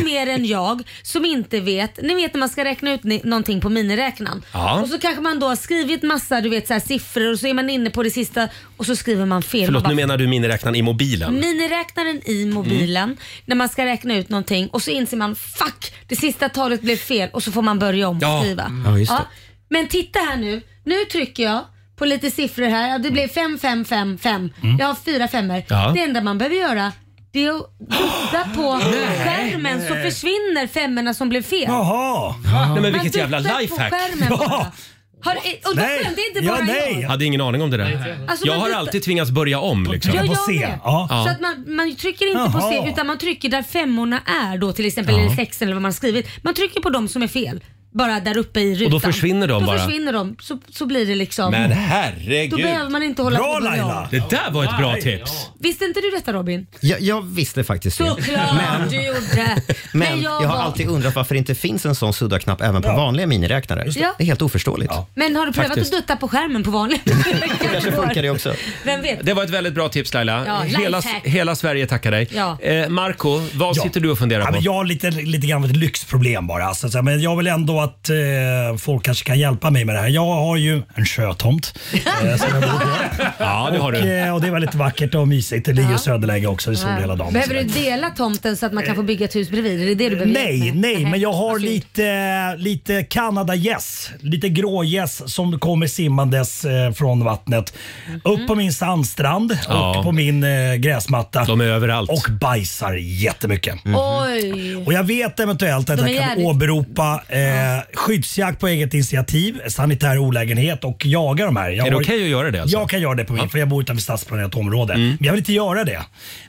någon mer än jag som inte vet, ni vet när man ska räkna ut ni- någonting på miniräknaren. Ja. Och så kanske man då har skrivit massa du vet, så här, siffror och så är man inne på det sista och så skriver man fel. förlåt Man nu bara, menar du miniräknaren i mobilen? Miniräknaren i mobilen Mm. när man ska räkna ut någonting och så inser man fuck, det sista talet blev fel och så får man börja om och Ja. Mm. skriva. Ja, just det. Men titta här nu, nu trycker jag på lite siffror här. Ja, det blev 5, 5, 5, 5. Mm. Jag har fyra femmor. Ja. Det enda man behöver göra det är att dutta på skärmen så försvinner femmorna som blev fel. Jaha! Nej, men Man vilket jävla duttar på lifehack. skärmen Ja. bara. Har, och då skämde inte bara jag. Jag hade ingen aning om det där. Alltså, jag man har duttar- alltid tvingats börja om. Liksom. Jag gör det. Så att man, man trycker inte på Jaha. C utan man trycker där femmorna är då till exempel Ja. eller sexen eller vad man har skrivit. Man trycker på de som är fel. Bara där uppe i rutan. då försvinner de då bara. försvinner de. Så, så blir det liksom. Men herregud. Då behöver man inte hålla på och börja om. Det där var ett bra tips. Visste inte du detta Robin? Jag, jag visste faktiskt det. Såklart du gjorde. Men jag, jag har var- alltid undrat varför det inte finns en sån sudda-knapp även på Ja. vanliga miniräknare. Just Det. det. Ja. är helt oförståeligt. Men har du prövat Faktiskt. att dutta på skärmen på vanlig? Kanske funkar det också. Vem vet? Det var ett väldigt bra tips Laila. Ja, hela, lifehack. hela Sverige tackar dig. Ja. Eh, Marco, vad Ja. sitter du och funderar Ja, på? men jag har lite, lite grann av ett lyxproblem bara. Alltså, så här, men jag vill ändå att eh, folk kanske kan hjälpa mig med det här. Jag har ju en sjötomt. eh, som jag bor på. Ja, det har Och, du. eh, och det är väldigt vackert och mysigt. Det ligger i söderläge också. Det är sol hela dagen. Behöver du dela tomten så att man kan få bygga ett hus bredvid? Är det det du behöver Nej, hjälp med? nej, men jag har lite, lite Kanadagäss, lite grågäss som kommer simmandes eh, från vattnet. Mm. Upp på min sandstrand, Ja. upp på min eh, gräsmatta. De är överallt. Och bajsar jättemycket. Oj! Och jag vet eventuellt att De är jag kan jävligt- åberopa eh, skyddsjakt på eget initiativ, sanitär olägenhet och jaga de här. Jag Är det har- okej att göra det alltså? Mm. Jag kan göra det på min, för jag bor utanför stadsplanerat område. Men jag vill inte göra det.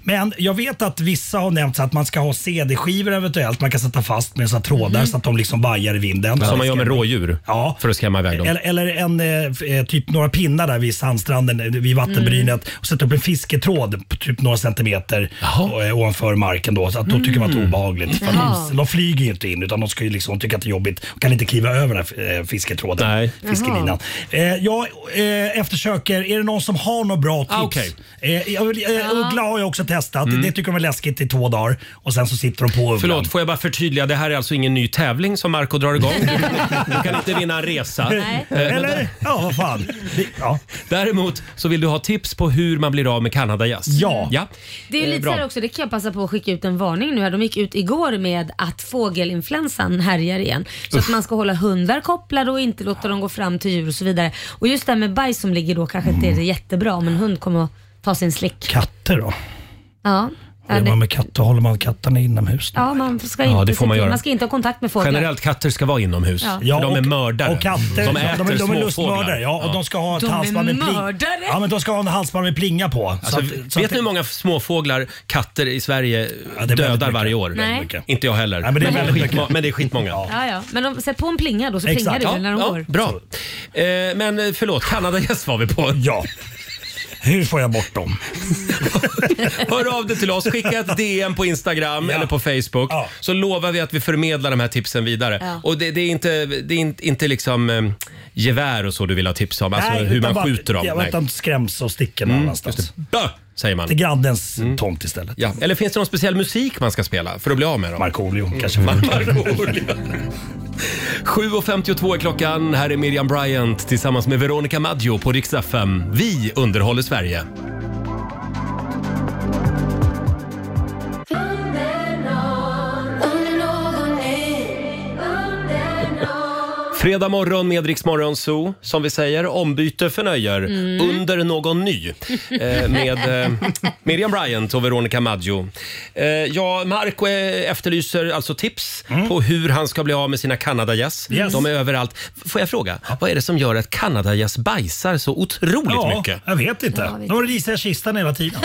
Men jag vet att vissa har nämnt så att man ska ha CD-skivor eventuellt. Man kan sätta fast med så här trådar så att de liksom vajar i vinden. Mm. Som man gör med rådjur Ja. för att skrämma iväg dem. Eller, eller en, eh, f- eh, typ några pinnar där vid sandstranden, eh, vid vattenbrynet Mm. och sätta upp en fisketråd på typ några centimeter eh, ovanför marken. Då, så att då tycker man att Mm. det är obehagligt. För att Jaha. de, de flyger ju inte in utan de ska ju liksom tycka att det är jobbigt och kan inte kliva över den här eh, fisketråden. Fiskelinan. Eh, jag eh, eftersöker, är det någon som har något bra tips? Ah, okej. eh, jag, vill- eh, Uggla har jag också testat. Mm. Det tycker de är läskigt i två dagar och sen så sitter de på ugglan. Förlåt, får jag bara förtydliga? Det här är alltså ingen ny tävling som Marco drar igång. Du, du kan inte vinna en resa. Nej. Eh, men- Eller? Ja, vad fan. Det- Ja. Däremot så vill du ha tips på hur man blir av med kanadagäss. Ja. ja. Det är ju Eh, lite bra. så här också, det kan jag passa på att skicka ut en varning nu här. De gick ut igår med att fågelinfluensan härjar igen. Så att man ska hålla hundar kopplade och inte låta dem gå fram till djur och så vidare. Och just det här med bajs som ligger då kanske inte Mm. är det jättebra om en hund kommer att ta sin slick. Katter då? Ja. Ja, Är man det, med katter, håller man katterna inomhus? ja, man ska Ja, inte, det får man se till- göra. man ska inte ha kontakt med fåglar. Generellt katter ska vara inomhus. Ja. För Ja, de är och- mördare. Och katter, de de, äter de, de är småfåglar. lustmördare. Ja, och de ska ha ett De är halsband med pling. mördare? Ja, men de ska ha en halsband med plinga på. Alltså, vet ni hur många småfåglar katter i Sverige dödar varje år? Nej. Väldigt mycket. Inte jag heller. Nej, men det är väldigt skitma- mycket. men det är skitmånga. Ja, ja. Men de, sätt på en plinga då så plingar det Ja, väl när de ja, går. Bra. Eh, men eh, förlåt, kanadagäss var vi på. Ja. Hur får jag bort dem? Hör av dig till oss, skicka ett DM på Instagram eller på Facebook så lovar vi att vi förmedlar de här tipsen vidare. Ja. Och det, det är inte, det är inte, inte liksom eh, gevär och så du vill ha tips om, alltså hur utan man bara- skjuter dem. Ja, Nej. att de skräms och sticker någon Mm, annanstans. Bö, säger man. Till grannens tomt istället. Ja. Eller finns det någon speciell musik man ska spela för att bli av med dem? Markoolio kanske. Mm. Markoolio. 7.52 är klockan. Här är Miriam Bryant tillsammans med Veronica Maggio på riksdag 5. Vi underhåller Sverige. Fredag morgon med Rix Morgon Zoo. Som vi säger, ombyte förnöjer Mm. under någon ny. Eh, med eh, Miriam Bryant och Veronica Maggio. Eh, ja, Marco eh, efterlyser alltså tips på hur han ska bli av med sina kanadagäss. Mm. Yes. De är överallt. Får jag fråga, vad är det som gör att kanadagäss bajsar så otroligt ja, mycket? jag vet inte. De har risar i kistan hela tiden.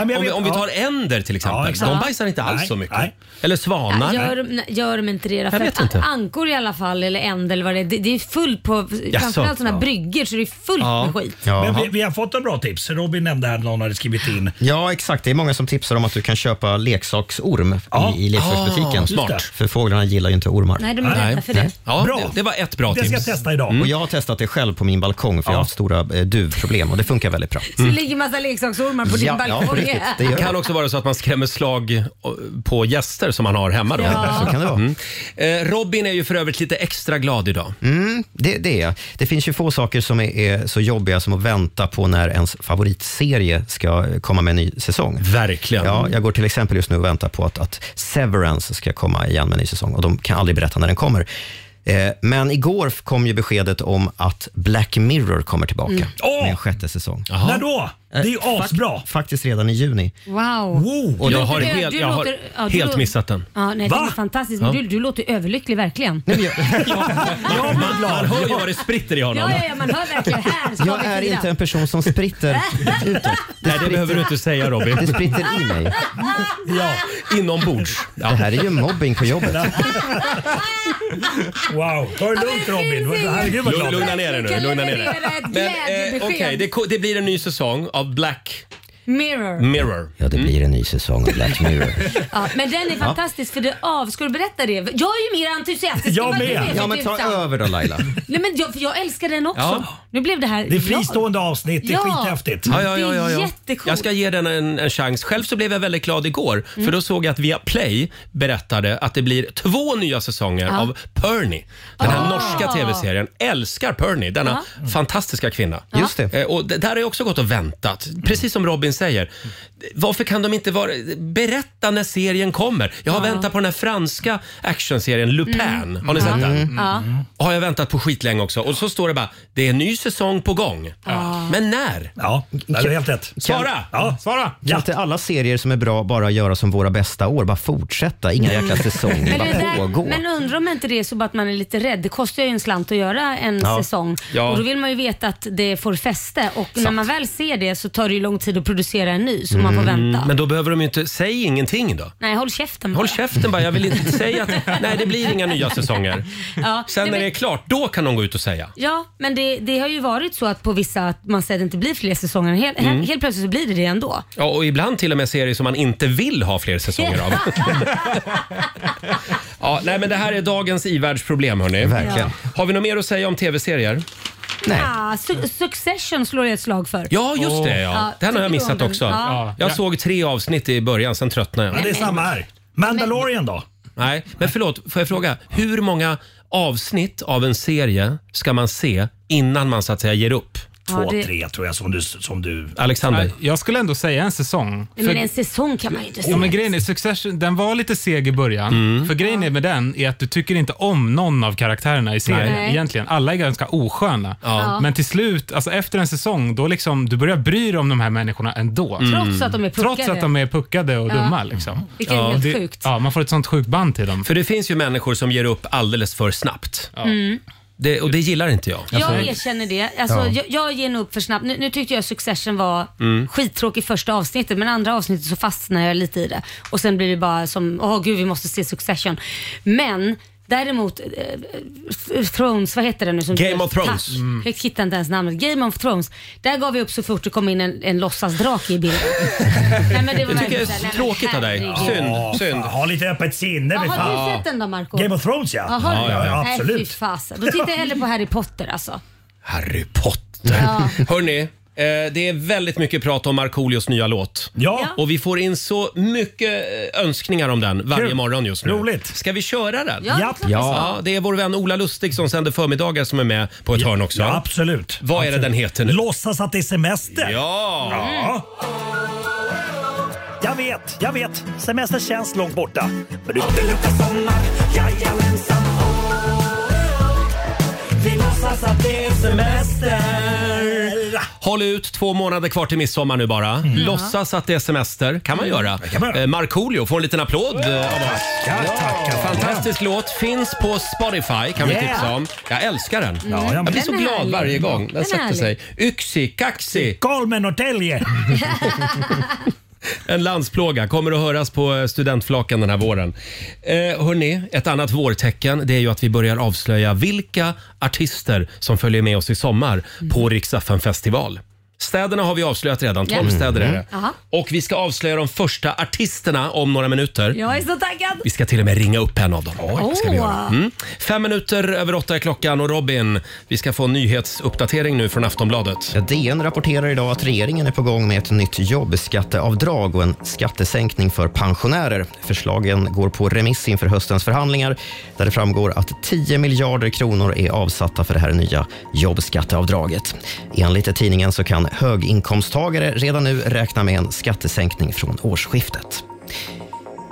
Om vi, om vi tar änder till Ja, exempel, exakt. de bajsar inte alls Nej, så mycket. Eller svanar. Gör, nej, gör de inte det? Jag För vet att inte. Ankor i alla fall, eller änd eller vad det är. Det, det är fullt på, framförallt sådana här Ja. bryggor så det är fullt med skit. Men vi, vi har fått en bra tips. Robin nämnde här att någon hade skrivit in. Ja, exakt. Det är många som tipsar om att du kan köpa leksaksorm Ja. i, i Ah, leksaksbutiken. just det. För fåglarna gillar ju inte ormar. Nej, de är rädda för det. Ja, Bra. det- det var ett bra Det ska tips. Mm. jag testa idag. Och jag har testat det själv på min balkong för jag har haft stora eh, duvproblem och det funkar väldigt bra. Så det ligger massa leksaksormar på din balkong. det kan också vara så att man skrämmer slag eh, på gäster som man har hemma. Då. Ja. Så kan det vara. Mm. Eh, Robin är ju för övrigt lite extra glad idag. Mm, det, det är jag. Det finns ju få saker som är, är så jobbiga som att vänta på när ens favoritserie ska komma med en ny säsong. Verkligen. Ja, jag går till exempel just nu och väntar på att, att Severance ska komma igen med en ny säsong och de kan aldrig berätta när den kommer. Eh, Men igår kom ju beskedet om att Black Mirror kommer tillbaka Mm. Åh! med en sjätte säsäsong. När då? Det är ju Eh, fak- asbra. Oh, Faktiskt redan i juni. Wow. Och jag har Du låter- helt- du jag har låter- ja, du helt låter- missat den. Ja, nej, Va? det är fantastiskt. Men Ja. Du, du låter överlycklig verkligen. Man, man hör ju vad det spritter i honom. Ja, ja, ja, man hör verkligen. Här ska Jag vi är fira. inte en person som spritter utåt. Nej, det behöver du inte säga Robin. Det spritter i mig. Ja, inombords. Det här är ju mobbing på jobbet. Wow, ta det lugnt Robin. Herregud vad Lugn- glad jag Lugna är. ner er nu. Lugna ner er. leverera ett Men, eh, glädjebesked. okej, det, ko- det blir en ny säsong av Black Mirror. Mirror. Ja, det blir en ny säsong av Black Mirror. Ja, men den är Ja. fantastisk för det av... Ska du berätta det? Jag är ju mer entusiastisk. än vad du är, för Ja, men ta tusan. över då Laila. Nej, men jag, för jag älskar den också. Ja. Nu blev det här... Det är fristående avsnitt, det är Ja. skithäftigt. Ja, ja, ja, ja, Det är ja. jättecoolt. Jag ska ge den en, en chans. Själv så blev jag väldigt glad igår för Mm. då såg jag att Viaplay berättade att det blir två nya säsonger Ja. av Perny. Den här Ah. norska tv-serien. Älskar Perny, denna fantastiska kvinna. Just det. Eh, Och d- där har jag också gått och väntat. Precis som Robin säger. Varför kan de inte vara, berätta när serien kommer? Jag har Ja. väntat på den här franska actionserien Lupin. Mm. Har ni sett ja. den? Ja. har jag väntat på skitlänge också. Och så står det bara, det är en ny säsong på gång. Ja. Men när? Ja, det är helt rätt. Svara! Ja. Svara! Kan inte alla serier som är bra bara göra som våra bästa år? Bara fortsätta, inga jäkla säsonger, Men, det bara där, pågå. men undrar om inte det är så bara att man är lite rädd. Det kostar ju en slant att göra en Ja. säsong. Ja. Och då vill man ju veta att det får fäste. Och när man väl ser det så tar det ju lång tid att producera en ny, så man får vänta. Men då behöver de ju inte, säg ingenting då. Nej, håll käften bara. Håll käften bara, jag vill inte säga att nej, det blir inga nya säsonger. Ja, Sen när nej, men- det är klart, då kan de gå ut och säga. Ja, men det, det har ju varit så att på vissa att man säger att det inte blir fler säsonger. Helt, Mm. helt plötsligt så blir det det ändå. Ja, och ibland till och med serier som man inte vill ha fler säsonger av. ja, nej, men det här är dagens ivärldsproblem hörni. Verkligen. Har vi något mer att säga om tv-serier? Nej. Ah, su- succession slår jag ett slag för. Ja, just det. Ja. Den har tycker jag du om missat den? också. Ja. Jag såg tre avsnitt i början, sen tröttnade jag. Ja, det är samma här. Mandalorian då? Nej, men förlåt, får jag fråga, hur många avsnitt av en serie ska man se innan man så att säga ger upp? Ja, Två, det- tre, tror jag som du... Som du... Alexander? Nej, Jag skulle ändå säga en säsong. Nej, Men en säsong kan man ju inte säga. Ja, men grejen är, Succession, den var lite seg i början. Mm. För grejen är med den är att du tycker inte om någon av karaktärerna i serien Nej. egentligen. Alla är ganska osköna. Ja. Men till slut, alltså efter en säsong, då liksom, du börjar bry dig om de här människorna ändå. Trots Mm. att de är puckade. Trots att de är puckade och Ja. dumma. Liksom. Vilket är helt det- sjukt. Ja, man får ett sånt sjukt band till dem. För det finns ju människor som ger upp alldeles för snabbt. Mm. Det, och det gillar inte jag. Jag erkänner det. Alltså, Ja. jag, jag ger nog upp för snabbt. Nu, nu tyckte jag Succession var Mm. skittråkig första avsnittet men andra avsnittet så fastnar jag lite i det. Och sen blir det bara som, åh gud vi måste se Succession. Men Däremot, eh, eh, Thrones, vad heter det nu? Som Game of Thrones. Tack. Mm. Jag hittar inte ens namnet. Game of Thrones. Där gav vi upp så fort det kom in en, en låtsasdrake i bilden. Nej, men det var Det tycker jag är verkligen så här, så nej, men tråkigt av dig. herregud. Synd, Ja, synd. fan, Ha lite öppet sinne. Ja, men har du fan. sett den då Marco? Game of Thrones, ja. Ja, har du? Ja, ja, ja, Nej, absolut. fy fasen. Då tittar jag hellre på Harry Potter alltså. Harry Potter. Ja. Hörni, eh, det är väldigt mycket prat om Markoolios nya låt. Ja. Och vi får in så mycket eh, önskningar om den varje Kul. morgon just nu. Roligt. Ska vi köra den? Ja, det är klart vi ska. ja. Det är vår vän Ola Lustig som sänder förmiddagar som är med på ett hörn också. Ja, absolut. Vad är det den heter nu? Låtsas att det är semester. Ja. ja. Jag vet, jag vet. Semester känns långt borta. Men du... Det luktar sommar, jajamensan oh, oh, oh. låtsas att det är semester. Håll ut, två månader kvar till midsommar nu bara. Mm. Låtsas att det är semester, kan man göra. Eh, Markoolio får en liten applåd eh, av oss. Fantastisk låt, finns på Spotify kan vi Yeah. tipsa om. Jag älskar den. Ja, ja, men- jag blir så Den är glad härlig. varje gång den, Den är sätter härlig. sig. Yxi, kaxi. Galmen Norrtälje. En landsplåga kommer att höras på eh, studentflaken den här våren. Eh, hörni, ett annat vårtecken det är ju att vi börjar avslöja vilka artister som följer med oss i sommar på Rix FM festival. Städerna har vi avslöjat redan, 12 Mm. Ja. städer är Mm. det. Jaha. Och vi ska avslöja de första artisterna om några minuter. Jag är så taggad. Vi ska till och med ringa upp en av dem. Oj, ska vi göra. Mm. Fem minuter över åtta är klockan och Robin, vi ska få en nyhetsuppdatering nu från Aftonbladet. Ja, DN rapporterar idag att regeringen är på gång med ett nytt jobbskatteavdrag och en skattesänkning för pensionärer. Förslagen går på remiss inför höstens förhandlingar där det framgår att 10 miljarder kronor är avsatta för det här nya jobbskatteavdraget. Enligt tidningen så kan höginkomsttagare redan nu räkna med en skattesänkning från årsskiftet.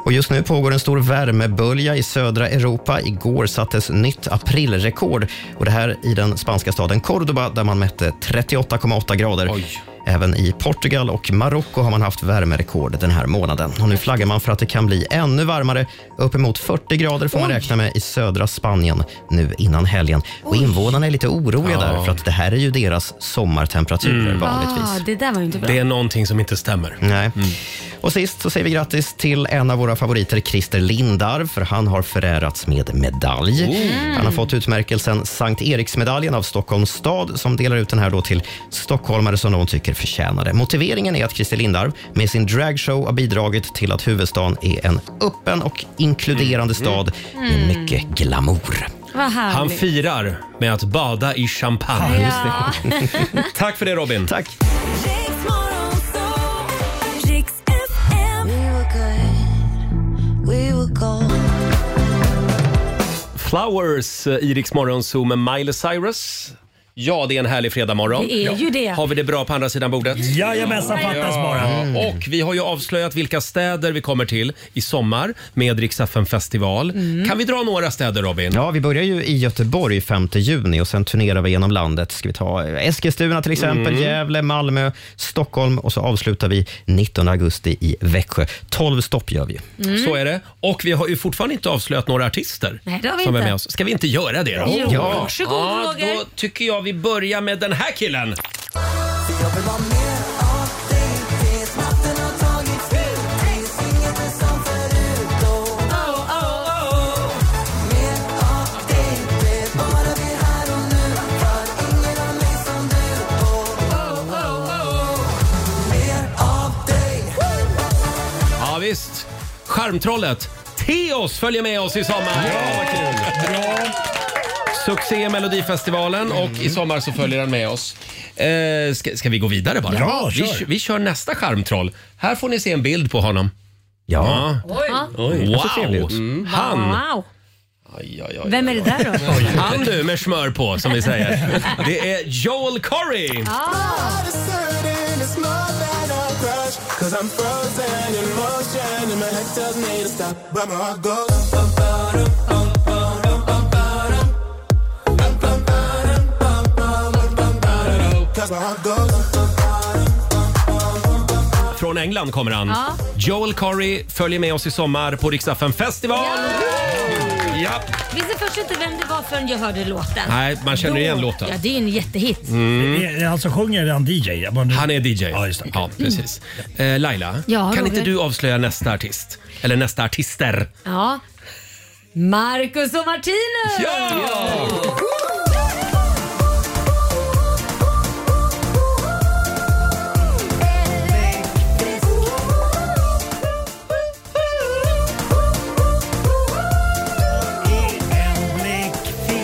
Och just nu pågår en stor värmebölja i södra Europa. Igår sattes nytt aprilrekord och det här i den spanska staden Cordoba där man mätte 38,8 grader. Även i Portugal och Marocko har man haft värmerekord den här månaden. Och nu flaggar man för att det kan bli ännu varmare. Uppemot 40 grader får man räkna med i södra Spanien nu innan helgen. Och invånarna är lite oroliga där för att det här är ju deras sommartemperaturer Mm. vanligtvis. Ah, det där var ju inte bra. Det är någonting som inte stämmer. Nej. Mm. Och sist så säger vi grattis till en av våra favoriter, Christer Lindarw, för han har förärats med medalj. Oh. Mm. Han har fått utmärkelsen Sankt Eriksmedaljen av Stockholms stad som delar ut den här då till stockholmare som de tycker förtjänar det. Motiveringen är att Christer Lindarw med sin dragshow har bidragit till att huvudstaden är en öppen och inkluderande stad med Mm. mycket glamour. Vad härligt. Han firar med att bada i champagne. Ja. Tack för det Robin. Tack. Flowers eh, i Rix Morgon Zoo med Miley Cyrus. Ja, det är en härlig fredagmorgon. Det är ja. ju det. Har vi det bra på andra sidan bordet? Jajamensan, fattas bara. Mm. Och vi har ju avslöjat vilka städer vi kommer till i sommar med Rix FM festival. Kan vi dra några städer Robin? Ja, vi börjar ju i Göteborg 5 juni och sen turnerar vi genom landet. Ska vi ta eh, Eskilstuna till exempel, Mm. Gävle, Malmö, Stockholm och så avslutar vi 19 augusti i Växjö. 12 stopp gör vi. Mm. Så är det. Och vi har ju fortfarande inte avslöjat några artister Nej, det har vi som är inte. med oss. Ska vi inte göra det då? Jo, Ja. varsågod, ja, Roger. Då tycker jag vi börjar med den här killen. Ja, visst. Charmtrollet Teos följer med oss i sommar. Ja, vad kul. Succé i Melodifestivalen och i sommar så följer han med oss. Eh, ska, ska vi gå vidare bara? Ja, vi, kör. vi kör nästa charmtroll. Här får ni se en bild på honom. Ja. Ja. Oj. Han ser trevlig Wow. ut. Mm. Han. Wow. Vem är det där då? Han du med smör på som vi säger. Det är Joel Corey. Cause I'm frozen in motion and my head tells me to stop But my heart goes Cause my heart goes Från England kommer han. Ja. Joel Corey följer med oss i sommar på Riksdagen festival. Ja. Visste först inte vem det var förrän jag hörde låten. Nej, man känner igen Då- låten. Ja, det är en jättehit. Eh, Mm. alltså, Han som sjunger är han DJ? Han är Mm. DJ. Ja, precis. Eh, Laila, Ja, kan Roger. inte du avslöja nästa artist? Eller nästa artister? Ja. Marcus och Martinus! Ja!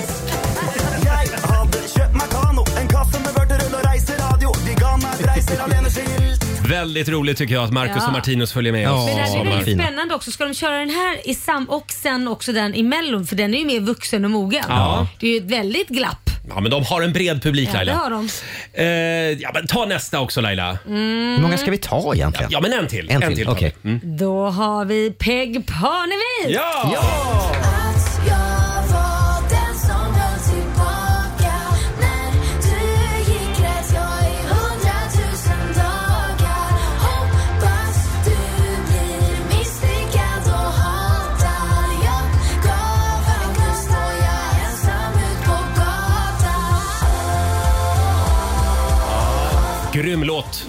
Jeg hadde kjøpt meg kano, en kaffe med vørterull og reiseradio. De ga meg reiser alene skilt. Väldigt roligt tycker jag att Marcus Ja. och Martinus följer med oss Men i det här är sommar. väldigt spännande också. Ska de köra den här i sam och sen också den i Mellon? För den är ju mer vuxen och mogen. Ja. Det är ju ett väldigt glapp. Ja, men de har en bred publik Ja, det har Laila. de. Eh, ja, men ta nästa också Laila. Mm. vi ta egentligen? Ja, men en till. En till, tar okej. vi. Mm. Då har vi Peg Parnevik! Ja! Att jag var den som höll tillbaka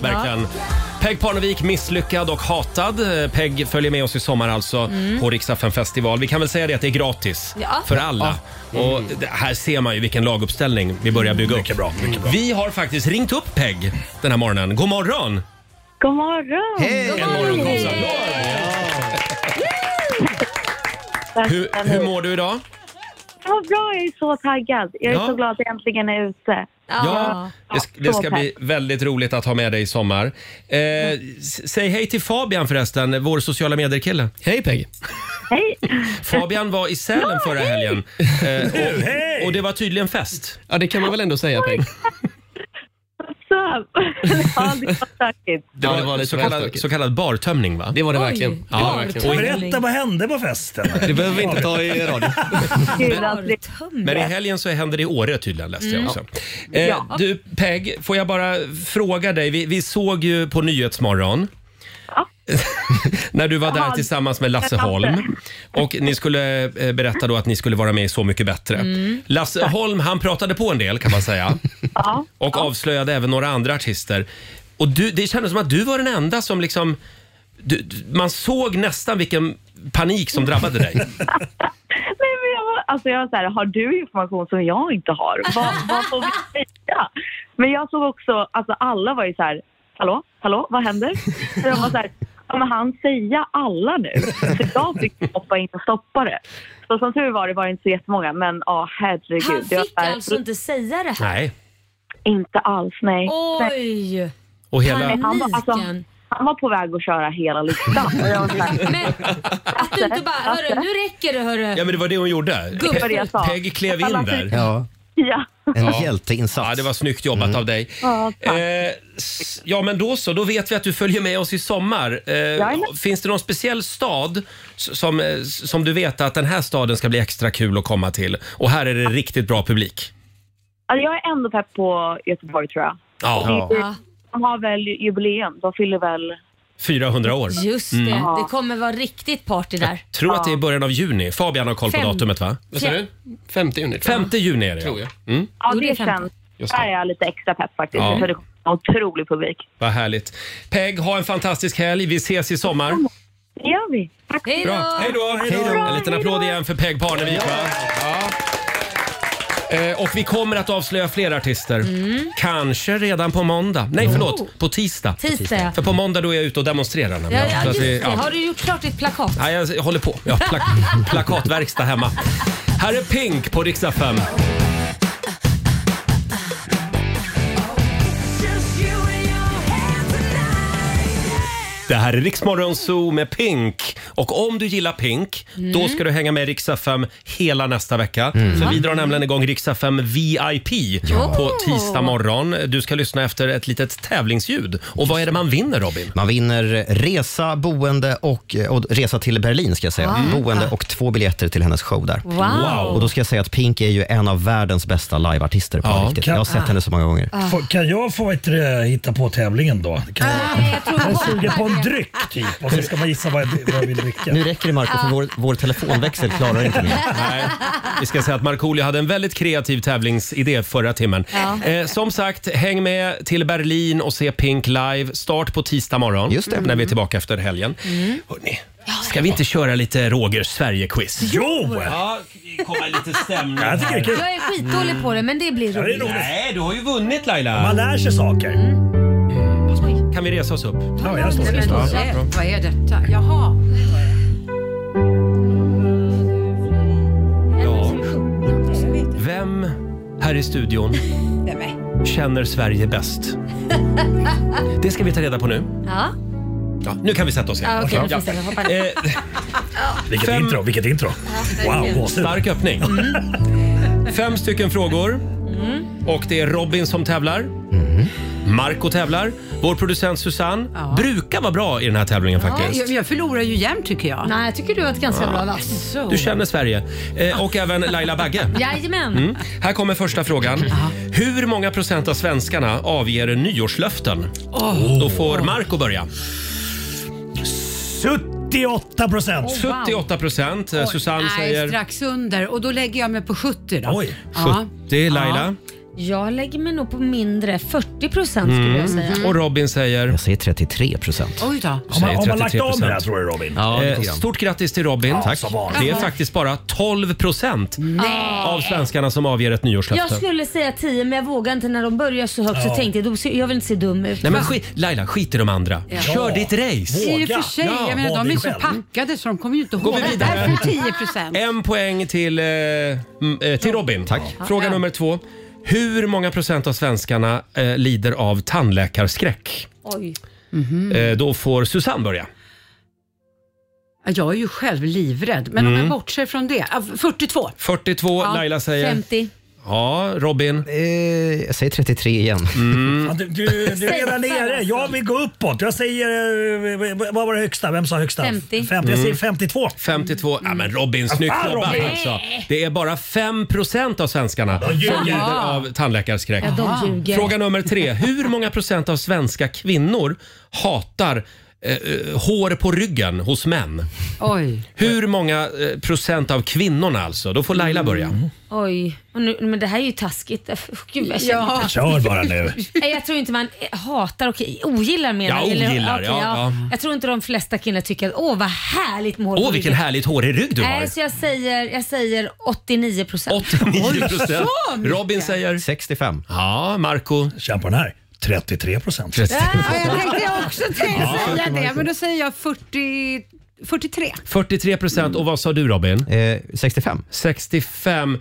verkligen. Peg Parnevik, misslyckad och hatad. Eh, Peg följer med oss i sommar alltså Mm. på Rix FM festival. Vi kan väl säga det att det är gratis Ja. för alla. Ja. Och det- här ser man ju vilken laguppställning vi börjar bygga upp. Mycket bra, mycket bra. Vi har faktiskt ringt upp Peg den här morgonen. God morgon! God morgon! Hej! God morgon, Kossan. Hur, hur mår du idag? Vad bra, jag är så taggad. Jag är Ja. så glad att jag äntligen är ute. Ja, det, sk- det så ska tack. bli väldigt roligt att ha med dig i sommar. Eh, s- säg hej till Fabian förresten, vår sociala medier-kille. Hej Peg! Hej! Fabian var i Sälen förra helgen eh, och, och det var tydligen fest. Ja, det kan man väl ändå säga Peg. Så, ja, det var stökigt. Det var, så, kallad, så kallad bartömning va? Det var det verkligen. Berätta, vad hände på festen? Det behöver vi inte ta i radio. Kul att bli- Men i helgen så händer det i Åre tydligen läste jag Mm. också. Ja. Eh, Ja. Du Peg, får jag bara fråga dig. Vi, vi såg ju på Nyhetsmorgon när du var där Jaha. tillsammans med Lasse Holm. Och ni skulle eh, berätta då att ni skulle vara med i Så mycket bättre. Mm. Lasse Holm han pratade på en del kan man säga. Ja. Och avslöjade även några andra artister. Och du, det kändes som att du var den enda som liksom... Du, du- man såg nästan vilken panik som drabbade dig. Nej, men jag, var- alltså jag var så här, har du information som jag inte har? Vad, vad får vi säga? Men jag såg också, alltså alla var ju så här, hallå, hallå, vad händer? Så jag var så här, kommer han säga alla nu? Så jag fick hoppa in och stoppa det. Så som tur var det var det inte så jättemånga, men ja, herregud. Han Jag var fick så här, alltså inte säga det här? Nej. Inte alls, nej. Oj! Och hela- han, var, alltså, han var på väg att köra hela listan. Och jag var så här, Att du inte bara, hörru, nu räcker det hörru. Ja men det var det hon gjorde. Gubbe, det jag sa. Peg klev in där. Ja, Ja. en hjälteinsats. Ja, det var snyggt jobbat av dig. Ja, Eh, s- ja, men då så. Då vet vi att du följer med oss i sommar. Eh, Jajamän. finns det någon speciell stad s- som, eh, s- som du vet att den här staden ska bli extra kul att komma till? Och här är det riktigt bra publik. Alltså jag är ändå pepp på Göteborg tror jag. Ja. Det är- De har väl jubileum, de fyller väl... 400 år. Just det, Mm. det kommer vara riktigt party där. Tror att det är i början av juni. Fabian har koll på Fem- datumet, va? Vad sa du? 50 juni. 50 juni är det, Tror jag. Mm. Ja, Jo, det det är femton. känns... Där är jag lite extra pepp faktiskt. Ja. För det kommer vara otrolig publik. Vad härligt. Peg, ha en fantastisk helg. Vi ses i sommar. Det gör vi. Tack. Hej Bra. Hej då! En liten applåd igen för Peg Parnevik. va? Ja. Eh, Och vi kommer att avslöja fler artister. Mm. Kanske redan på måndag. Nej, förlåt. På tisdag. Tisdag, ja. För på måndag då är jag ute och demonstrerar. Ja, nämligen. ja, Så att just vi- det. ja. Har du gjort klart ditt plakat? Nej, jag håller på. Jag har plak- plakatverkstad hemma. Här är Pink på riksdag 5. Det här är Riksmorgon Zoo med Pink. Och om du gillar Pink, Mm. då ska du hänga med Rix FM hela nästa vecka. Mm. För vi drar nämligen igång Rix FM VIP på tisdag morgon. Du ska lyssna efter ett litet tävlingsljud. Och vad är det man vinner, Robin? Man vinner resa, boende och, eh, och resa till Berlin ska jag säga. Wow. Boende och två biljetter till hennes show där. Wow. Wow. Och då ska jag säga att Pink är ju en av världens bästa liveartister på riktigt. Jag har sett henne så många gånger. Får- Kan jag få ett, eh, hitta på tävlingen då? Kan jag, jag är sugen på en dryck typ och så ska man gissa vad jag, vad jag vill dricka. Nu räcker det Marco för vår, vår telefonväxel klarar inte mer. Nej, vi ska säga att Markoolio hade en väldigt kreativ tävlingsidé förra timmen. Ja. Eh, som sagt, häng med till Berlin och se Pink live. Start på tisdag morgon Just det. när vi är tillbaka efter helgen. Mm. Hörrni, ska vi inte köra lite Rogers Sverige-quiz? Jo! Ja, vi kommer lite stämning Jag tycker det är kul. Jag är skitdålig på det, men det blir roligt. Nej, du har ju vunnit Laila. Man lär sig saker. Kan vi resa oss upp? Ja, jag står Nej, jag men, står. eh, vad är detta? Jaha. Ja. Vem här i studion Nej, men. känner Sverige bäst? Det ska vi ta reda på nu. Ja, Ja, nu kan vi sätta oss ja igen. okej. Ja. Okay, ja. Hoppa ner. Vilket intro, vilket intro. Wow, gåshud. Stark öppning. Mm. Fem stycken frågor. Och det är Robin som tävlar. Mm. Marco tävlar. Vår producent Susanne brukar vara bra i den här tävlingen faktiskt. Jag, jag förlorar ju jämt tycker jag. Nej, jag tycker du har ett ganska bra vass. Du känner Sverige. Eh, och även Laila Bagge. Jajamän. Mm. Här kommer första frågan. Hur många procent av svenskarna avger nyårslöften? Oh. Åh. Då får Marco börja. 78 procent. Oh, wow. 78 procent. Eh, Susanne Nej, säger strax under. Och då lägger jag mig på 70 då. Oj. Ja. 70. Laila. Jag lägger mig nog på mindre, 40 procent skulle jag säga. Mm. Och Robin säger? Jag säger 33 procent. Oj då. Du säger Har man- har man lagt 33%. om det här, tror du, Robin? Ja, Eh, lite grann. stort grattis till Robin. Ja, som vanligt. Det är Jaha. faktiskt bara 12 procent av svenskarna som avger ett Jag nyårslöfte. skulle säga 10 men jag vågar inte när de börjar så högt Ja. så tänkte jag, då ser- jag vill inte se dum ut. Nej, men skit, Laila, skit i de andra. Ja. Kör ditt race. I och för sig, jag menar, de är så packade så de kommer ju inte ihåg. vi vidare? Därför 10 procent. En poäng till, eh, m- eh, till Robin. Tack. Fråga Ja. nummer två. Hur många procent av svenskarna eh, lider av tandläkarskräck? Oj. Mm. Eh, då får Susanne börja. Jag är ju själv livrädd, men om Mm. jag bortser från det. ah, 42. 42, Ja, Laila säger... 50. Ja, Robin? eh, jag säger 33 igen. Ja, Du, du, du är redan nere. Jag vill gå uppåt. Jag säger... eh, Vad var det högsta? Vem sa högsta? 50. Jag säger Mm. 52. 52. Ja, men Robin, Vad snyggt fan, jobbat Robin! alltså. Det är bara 5 av svenskarna som ljuger. lider Jaha. av tandläkarskräck. Ja, de ljuger. Fråga nummer tre. Hur många procent av svenska kvinnor hatar eh, eh, hår på ryggen hos män? Oj. Hur många eh, procent av kvinnorna alltså? Då får Laila börja. Oj, och nu, men det här är ju taskigt. Gud, jag känner- Ja. Kör bara nu. Nej, jag tror inte man hatar, okej, ogillar menar Ja, eller- ogillar, okej, ja, ja. Jag tror inte de flesta killar tycker att åh vad härligt med hår på Åh, vilken ryggen." härligt hårig rygg du har. Nej, Äh, så jag säger, jag säger 89 procent. 89 procent. så mycket. Robin säger? 65. Ja, Marco Eh, Känn på den här. 33 procent. Ja, jag tänkte jag också tänkte Ja. säga det, men då säger jag 40, 43. 43 procent. Och vad sa du Robin? Eh, 65. 65.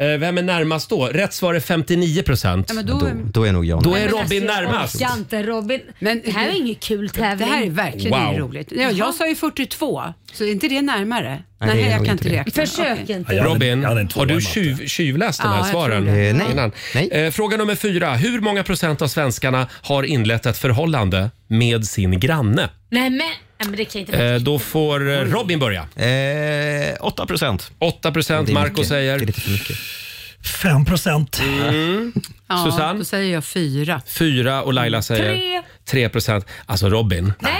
Eh, Vem är närmast då? Rätt svar är 59 procent. Ja, men då- Då- är nog jag Då är Men Robin alltså, jag närmast. orkar inte Robin. Men, det här är ingen kul tävling. Det här är verkligen Wow. inte roligt. Ja, jag sa ju 42, så är inte det närmare? Nej, Nej, det är nog jag kan inte inte det. räkna. Försök inte. Robin, har du tjuv, tjuvläst de Ja, här jag tror svaren? det. Eh, nej. Innan? Eh, Fråga nummer fyra. Hur många procent av svenskarna har inlett ett förhållande med sin granne? Nej men, nej, men det kan inte vara Eh, Då får eh, Robin börja. Eh, 8 procent. 8 procent. Det är Marco mycket. säger? Det är lite för mycket. 5 procent. Mm. Ja, Susanne? Då säger jag 4. 4 och Laila säger? Tre. 3 procent. Alltså Robin. Nej!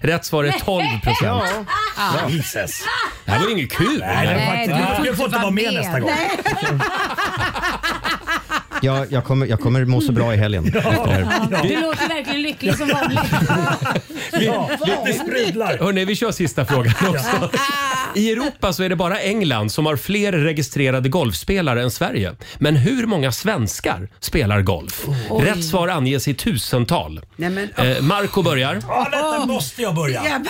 Rätt svar är 12 procent. Ja. Jesus. Det här var ju inget kul. Nej, du får Jag får inte vara med nästa gång. Nej. Jag, jag, kommer, jag kommer må så bra i helgen. efter det här. Ja, Du låter verkligen lycklig som vanligt. Ja, lite sprudlar. Hörrni, vi kör sista frågan också. I Europa så är det bara England som har fler registrerade golfspelare än Sverige. Men hur många svenskar spelar golf? Oj. Rätt svar anges i tusental. Nej, men, Eh, Marco börjar. Ja, detta måste jag börja. Ja, men-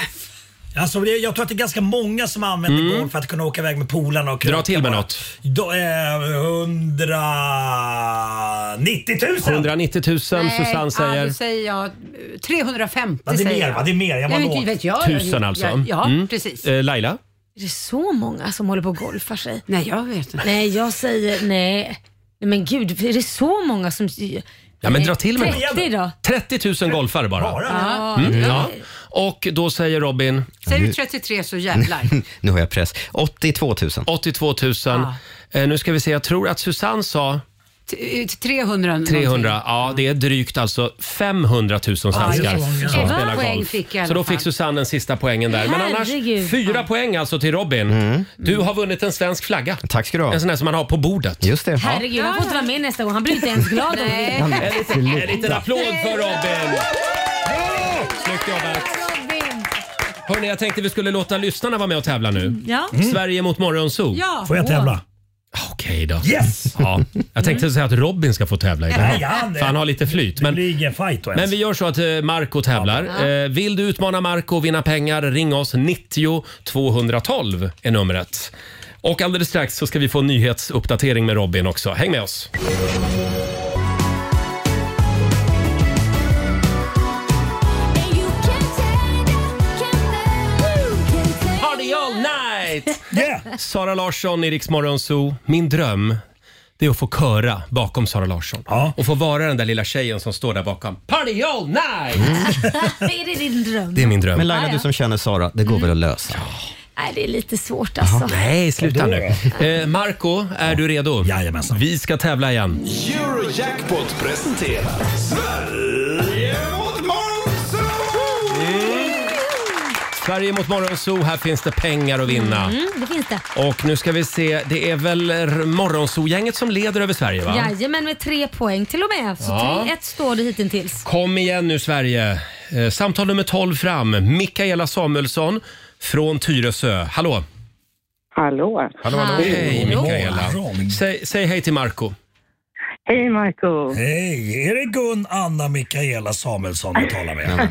Alltså, det- jag tror att det är ganska många som använder golf för att kunna åka iväg med polarna och Mm. Dra till med något. Då, eh, 190 000! 190 000, Susanne Ja, säger. då säger jag eh, 350. Ja, det är säger mer, jag. va? Det är mer. Jag var Nej, låg. men vet jag. Tusen alltså. Ja, ja Mm. precis. Eh, Laila? Är det så många som håller på och golfar sig? Nej, jag vet inte. Nej, jag säger nej. Nej, Men gud, är det så många som... Ja, men dra till med något. 30 då. 30 000 golfare bara. Ja. Mm, ja. Och då säger Robin? Säger du 33 så jävlar. nu har jag press. 82 000. 82 000. Eh, nu ska vi se, jag tror att Susanne sa T- 300 någonting. 300. Ja, det är drygt alltså 500 000 Ja, svenskar det är så som många. spelar Elva poäng golf. fick jag i alla Så då fall. fick Susanne den sista poängen där. Men annars, Herregud. Mm. fyra poäng alltså till Robin. Du har vunnit en svensk flagga. Tack ska du ha. En sån här som man har på bordet. Just det. Herregud, han får inte vara med nästa gång. Han blir inte ens glad om det. En, liten, en liten applåd för Robin! Snyggt jobbat! Hörni, jag tänkte vi skulle låta lyssnarna vara med och tävla nu. Mm. Ja. Sverige mot Morgonzoo. Ja. Får jag tävla? Okej då. Yes! Ja, jag tänkte säga att Robin ska få tävla idag. Nej, han är- För han har lite flyt. Det Men blir ingen fight då ens. Men vi gör så att eh, Marco tävlar. Eh, Vill du utmana Marco och vinna pengar, ring oss. 90 212 är numret. Och alldeles strax så ska vi få en nyhetsuppdatering med Robin också. Häng med oss! Party all night! Sara Larsson i Rix Morgon Zoo. Min dröm det är att få köra bakom Sara Larsson och få vara den där lilla tjejen som står där bakom. Party all night! Är det din dröm? Det är min dröm. Men Laila, Ja, du ja. som känner Sara, det går väl att lösa? Nej, det är lite svårt alltså. Nej, sluta nu. Eh, Marco, är du redo? Jajamensan. Vi ska tävla igen. Eurojackpot presenterar Sverige mot Morgonzoo! Sverige mot Morgonzoo, här finns det pengar att vinna. Mm, det finns det. Och nu ska vi se, det är väl R- Morgonzoo-gänget som leder över Sverige va? Jajamän, med tre poäng till och med. Så Ja. 3-1 står det hittills. Kom igen nu Sverige. Eh, Samtal nummer 12 fram. Mikaela Samuelsson från Tyresö. Hallå! Hallå. Hallå, hallå. Hej Mikaela. Säg, säg hej till Marco. Hej Marco. Hej, är det Gun Anna Mikaela Samuelsson du talar med?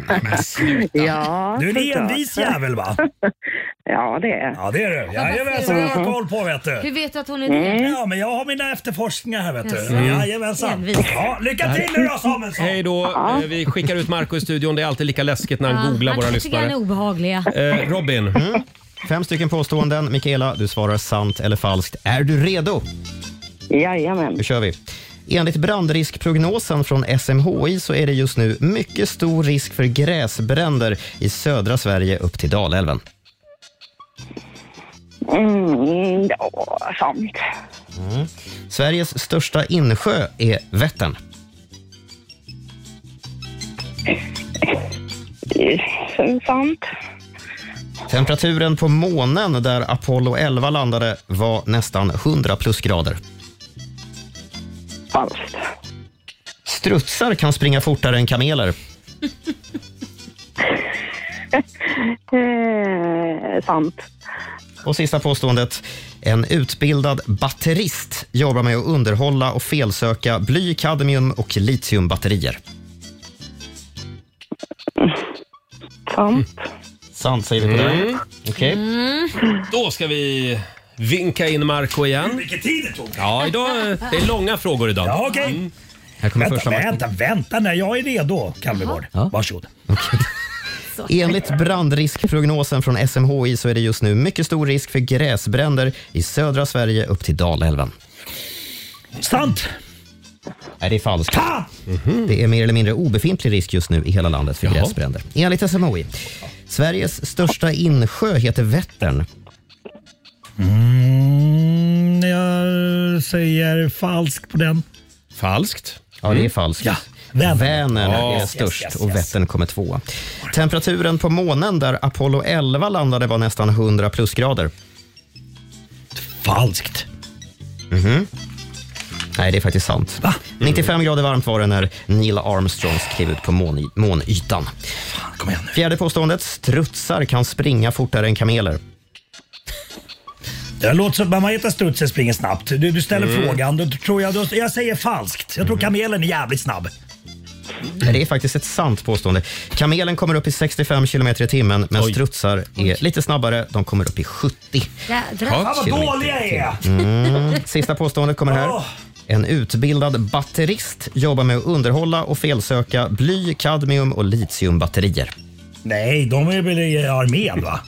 Ja, Du är en såklart. envis jävel va? Ja, det är Ja det är du. Jajamensan, jag har koll på vet du. Hur vet du att hon är det? Ja, men jag har mina efterforskningar här vet du. Jaså. Jajamensan. Envis. Ja, lycka till nu då Samuelsson! Hej då. Eh, Vi skickar ut Marco i studion. Det är alltid lika läskigt när han googlar våra tycker han är lyssnare. obehagliga. Eh, Robin. Fem stycken påståenden. Mikaela, du svarar sant eller falskt. Är du redo? Jajamän. Nu kör vi. Enligt brandriskprognosen från SMHI så är det just nu mycket stor risk för gräsbränder i södra Sverige upp till Dalälven. Mm, ja, sant. Mm. Sveriges största insjö är Vättern. Eh, Sant. Temperaturen på månen där Apollo 11 landade var nästan 100 plusgrader. Falskt. Strutsar kan springa fortare än kameler. Eh, sant. Och sista påståendet. En utbildad batterist jobbar med att underhålla och felsöka bly, kadmium och litiumbatterier. Sant. Sant säger vi på den. Mm. Okej. Då ska vi vinka in Marco igen. Vilken tid det tog! Ja, idag, eh, det är långa frågor idag. Ja, okej. Här kommer vänta, första matchen. vänta, vänta, nej, jag är redo, Kalmegård. Varsågod. Enligt brandriskprognosen från SMHI så är det just nu mycket stor risk för gräsbränder i södra Sverige upp till Dalälven. Sant! Nej, det är falskt. Det är mer eller mindre obefintlig risk just nu i hela landet för gräsbränder. Enligt SMHI. Sveriges största insjö heter Vättern. Mm, jag säger falskt på den. Falskt? Ja, det är falskt. Vänern. Vänern Mm. Ja. är Yes, störst yes, yes, och yes. Vättern kommer tvåa. Temperaturen på månen där Apollo 11 landade var nästan 100 plusgrader. Falskt. Mhm. Nej, det är faktiskt sant. 95 grader varmt var det när Neil Armstrong skrev ut på måny- månytan. Fjärde påståendet. Strutsar kan springa fortare än kameler. Det låter som att man heter strutsen springer snabbt. Du, du ställer Mm. frågan, då tror jag, då, jag säger falskt. Jag tror kamelen är jävligt snabb. Nej, Det är faktiskt ett sant påstående. Kamelen kommer upp i 65 kilometer i timmen, men strutsar är lite snabbare. De kommer upp i 70. Jädrar. Ja, vad kilometer dåliga jag är! Mm. Sista påståendet kommer här. Åh. En utbildad batterist jobbar med att underhålla och felsöka bly, kadmium och litiumbatterier. Nej, de är väl i armén va?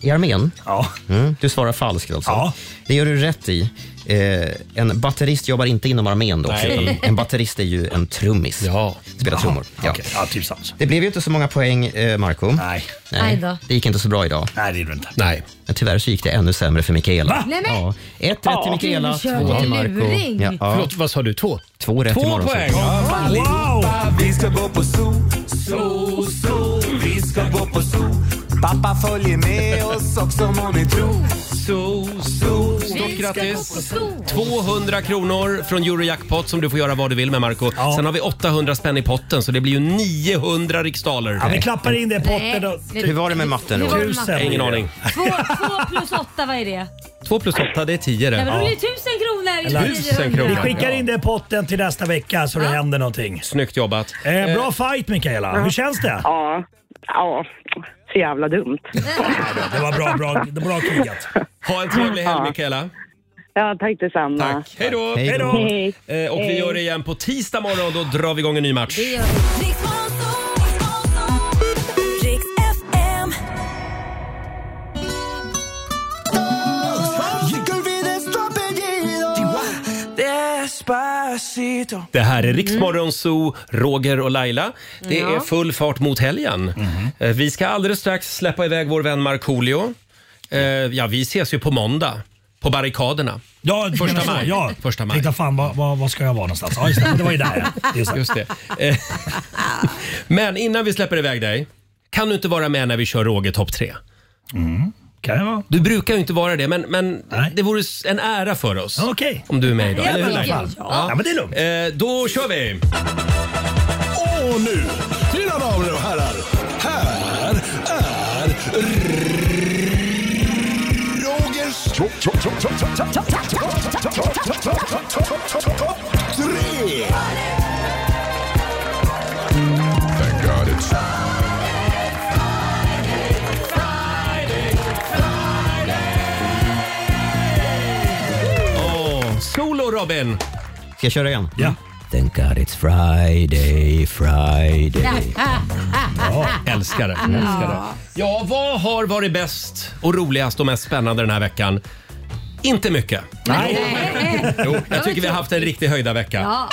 I armén? Ja. Mm, du svarar falskt alltså? Ja. Det gör du rätt i. Eh, en batterist jobbar inte inom armén då. Nej. En, en batterist är ju en trummis. Ja. Spelar trummor. Ja. Ja, typ sant. Det blev ju inte så många poäng, eh, Marco. Nej. Aj då. Det gick inte så bra idag. Nej, det gjorde inte. Nej. Men tyvärr så gick det ännu sämre för Mikaela. Va? Nej, men- Ja. Ett rätt till Ja. Mikaela, Du två körde till en Marco. luring. Förlåt, vad sa du? Två? Två rätt Två till morgon. poäng. Allihopa, vi ska gå på zoo, zoo, zoo. Vi ska gå på zoo. Pappa följer med oss också må ni tro. Zoo, zoo. Stort grattis! 200 kronor från Eurojackpot som du får göra vad du vill med Marco. Sen har vi 800 spänn i potten så det blir ju 900 riksdaler. Ja, vi klappar in det i potten och... Nej. Hur var det med matten, Hur var det med matten? Ingen aning. Två, två plus åtta, vad är det? 2 plus 8 det är 10 det. Nej, men då blir det tusen kronor Eller- istället för 900. Vi skickar in det i potten till nästa vecka så det händer någonting. Snyggt jobbat. Eh, bra fight Mikaela. Hur känns det? Ja. ja, så jävla dumt. Det var bra, bra, det var bra krigat. Ha en trevlig helg Mikaela. Ja, tack detsamma. Tack. Hej då! Hej då. eh, Hej. Eh, Och vi Hej. gör det igen på tisdag morgon. Då drar vi igång en ny match. Despacito. Det här är Riksmorgon Zoo, Roger och Laila. Det Ja. är full fart mot helgen. Eh, Vi ska alldeles strax släppa iväg vår vän Markoolio. Eh, Ja, vi ses ju på måndag på barrikaderna. Ja, du första menar så. maj. Ja. Första maj. Tänkte fan, vad, vad, vad ska jag vara någonstans? Ja, just det. Det var ju där ja. Just det. Eh, Men innan vi släpper iväg dig Kan du inte vara med när vi kör Roger topp tre? Kan jag vara. Du brukar ju inte vara det, men, men det vore s- en ära för oss om du är med idag. Ja, eller hur, men Laila? ja. Ja, men det är lugnt. Eh, då kör vi! Och nu, mina damer och herrar, här är Rogers topp tre! Thank God it's... Åh, solo Robin! Ska jag köra igen? Ja. Thank God it's Friday, Friday. Älskar det. Mm. Älskar det. Ja, vad har varit bäst och roligast och mest spännande den här veckan? Inte mycket. Jo, jag tycker vi har haft en riktig höjdarvecka. Ja.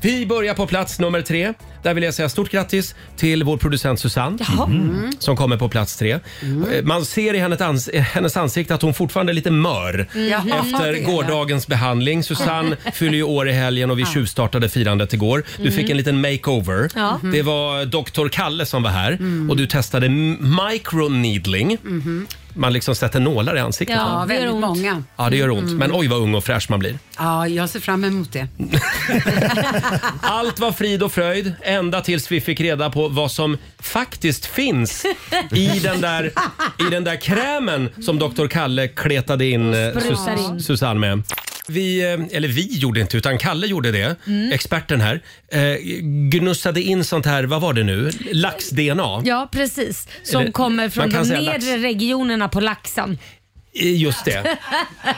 Vi börjar på plats nummer tre. Där vill jag säga stort grattis till vår producent Susanne Mm. som kommer på plats tre. Eh, Man ser i hennes, ans- eh, hennes ansikte att hon fortfarande är lite mör Mhm. Mm. efter Ja, det är gårdagens behandling. Susanne fyller ju år i helgen och vi tjuvstartade firandet igår. Du Mm. fick en liten makeover. Ja. Mm-hmm. Det var doktor Kalle som var här Mm. Mm-hmm. och du testade m- microneedling. Man liksom sätter nålar i ansiktet. Ja, va? väldigt många. ja det gör ont. Mm. Men oj vad ung och fräsch man blir. Ja, jag ser fram emot det. Allt var frid och fröjd ända tills vi fick reda på vad som faktiskt finns i den där, i den där krämen som Dr. Kalle kletade in eh, sprutar Sus- in. Susanne med. Vi, eh, eller vi gjorde inte, utan Kalle gjorde det, Mm. experten här. Eh, Gnussade in sånt här, vad var det nu? Lax-DNA? Ja, precis. Som Eller- kommer man från kan de säga nedre lax. regionerna på laxen. Eh, Just det.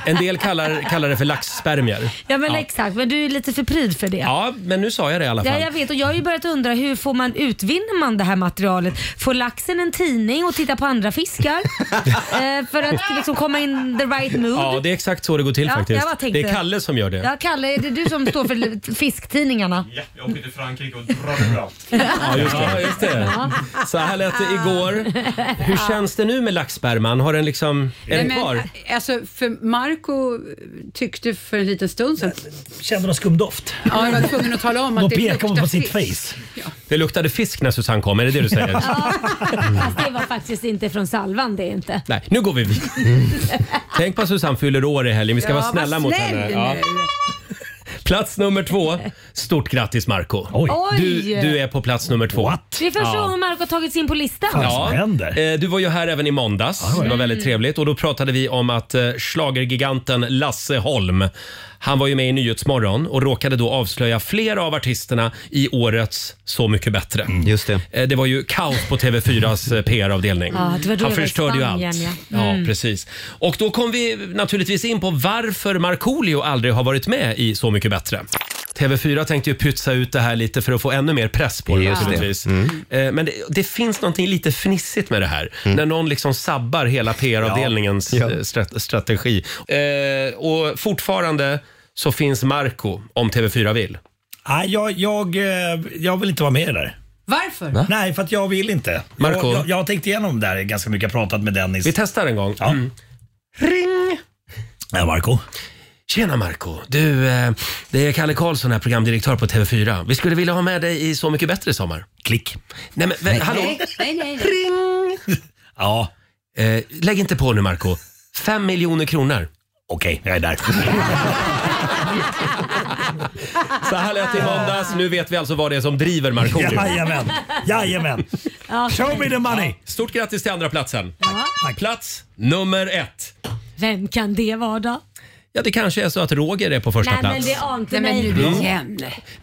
En del kallar, kallar det för laxspermier. ja, men ja. exakt. Men du är lite för pryd för det. ja, men nu sa jag det i alla fall. Ja, jag vet och jag har ju börjat undra hur får man utvinner man det här materialet? Får laxen en tidning och titta på andra fiskar? eh, för att liksom komma in the right mood? Ja, det är exakt så det går till Ja, jag faktiskt. bara tänkte- Det är Kalle som gör det. Ja, Kalle, är det du som står för fisktidningarna? Jag åker till Frankrike och drar det bra. Ja, just det. just det. Så här lät det igår. Hur känns det nu med laxsperman? Har den liksom... Är den Nej, kvar? Alltså, för Marco eh, tyckte för en liten stund sedan... Kände någon skum doft? Ja, jag var tvungen att tala om att Då det pekar hon luktar på sitt fisk. Det luktade fisk när Susanne kom, är det det du säger? Ja, fast det var faktiskt inte från salvan det är inte. Nej, nu går vi vidare. Tänk på att Susanne fyller år i helgen. Vi ska Ja, vara vad snälla mot snäll henne. Ja. nu. Plats nummer två. Stort grattis Marco Oj. Du, du är på plats nummer två. Det är första Ja. gången Marco har tagits in på listan. Eh, Du var ju här även i måndags. Det var väldigt trevligt. Och Då pratade vi om att eh, schlagergiganten Lasse Holm han var ju med i Nyhetsmorgon och råkade då avslöja flera av artisterna i årets Så mycket bättre. Just det. Eh, Det var ju kaos på TV4s eh, PR-avdelning. Ja, det var då han jag var i förstörde ju Spanien, allt. ja. Mm. Ja, precis. Och då kom vi naturligtvis in på varför Markoolio aldrig har varit med i Så mycket bättre. TV4 tänkte ju pytsa ut det här lite för att få ännu mer press på det Just det. naturligtvis. Mm. Mm. Eh, Men det, det finns någonting lite fnissigt med det här. När någon liksom sabbar hela PR-avdelningens eh, stra- strategi. Eh, och fortfarande så finns Marco om TV4 vill. Nej, jag, jag, eh, jag vill inte vara med i det där. Varför? Nej, för att jag vill inte. Marco? Jag, jag, jag har tänkt igenom det här ganska mycket. Jag har pratat med Dennis. Vi testar en gång. Ja. Ring! Ja, Marco. Tjena Marco. Du, eh, det är Kalle Karlsson här, programdirektör på TV4. Vi skulle vilja ha med dig i Så mycket bättre i sommar. Klick. Nej men, vä- hallå? Nej, nej, nej. Ring! Ja. Eh, lägg inte på nu Marco. Fem miljoner kronor. Okej, jag är där. Så här lät det i måndags. Nu vet vi alltså vad det är som driver Markoolio. Jajamän. Jajamän. Ja. Show me the money. Stort grattis till andra platsen. Ja. Plats nummer ett. Vem kan det vara då? Ja, det kanske är så att Roger är på första Nej men plats. det ante Nej, mig. men Mm. nu igen.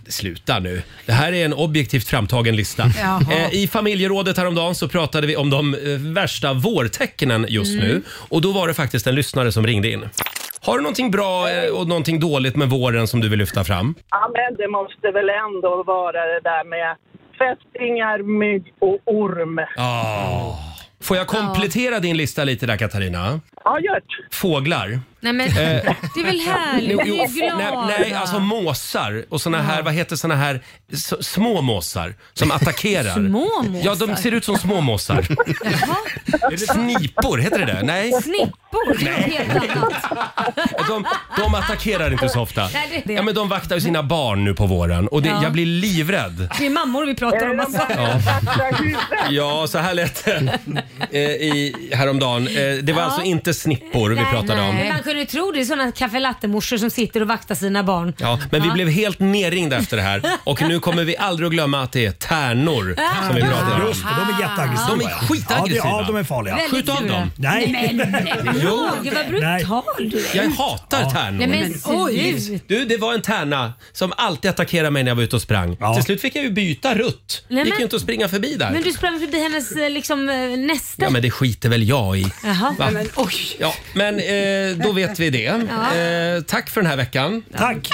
Sluta nu. Det här är en objektivt framtagen lista. Jaha. Eh, I familjerådet häromdagen så pratade vi om de eh, värsta vårtecknen just Mm. nu. Och då var det faktiskt en lyssnare som ringde in. Har du någonting bra eh, och någonting dåligt med våren som du vill lyfta fram? Ja, men det måste väl ändå vara det där med fästingar, mygg och orm. Får jag komplettera din lista lite där Katarina? Ja, gör det. Fåglar. Nej men Eh, det är väl härligt? Vi är glada. nej, nej, alltså måsar och såna här, vad heter såna här s- små måsar som attackerar. Små måsar? Ja, de ser ut som små måsar. Snipor, heter det det? Nej. Snippor, det är något Nej. helt annat. De, de attackerar inte så ofta. Nej, det är det. Ja, men de vaktar ju sina barn nu på våren och det, Ja. jag blir livrädd. Det är mammor vi pratar om alltså. Ja. Ja, så här lät det eh, i, häromdagen. Eh, Det var Ja. alltså inte snippor vi pratade om. Men man kunde ju tro det är sådana kaffe latte-morsor som sitter och vaktar sina barn. Ja, men vi Ja. blev helt nerringda efter det här och nu kommer vi aldrig att glömma att det är tärnor som vi pratar om. Just det, de är jätteaggressiva. De är skitaggressiva. Ja, det- ja, de är farliga. Ah. Väldigt Skjut av fula. dem. Nej. Nej, men- nej, Jo. Roger, vad brutal du är. Jag hatar tärnor. Nej, men oj. Du, det var en tärna som alltid attackerade mig när jag var ute och sprang. Till slut fick jag ju byta rutt. Nej, Det gick men- ju inte att springa förbi där. Men du sprang förbi hennes eh, liksom, eh, näste. Ja, men det skiter väl jag i. Jaha. Va? Men, oj. Ja, men eh, då vet vi det. Ja. Eh, tack för den här veckan. Tack!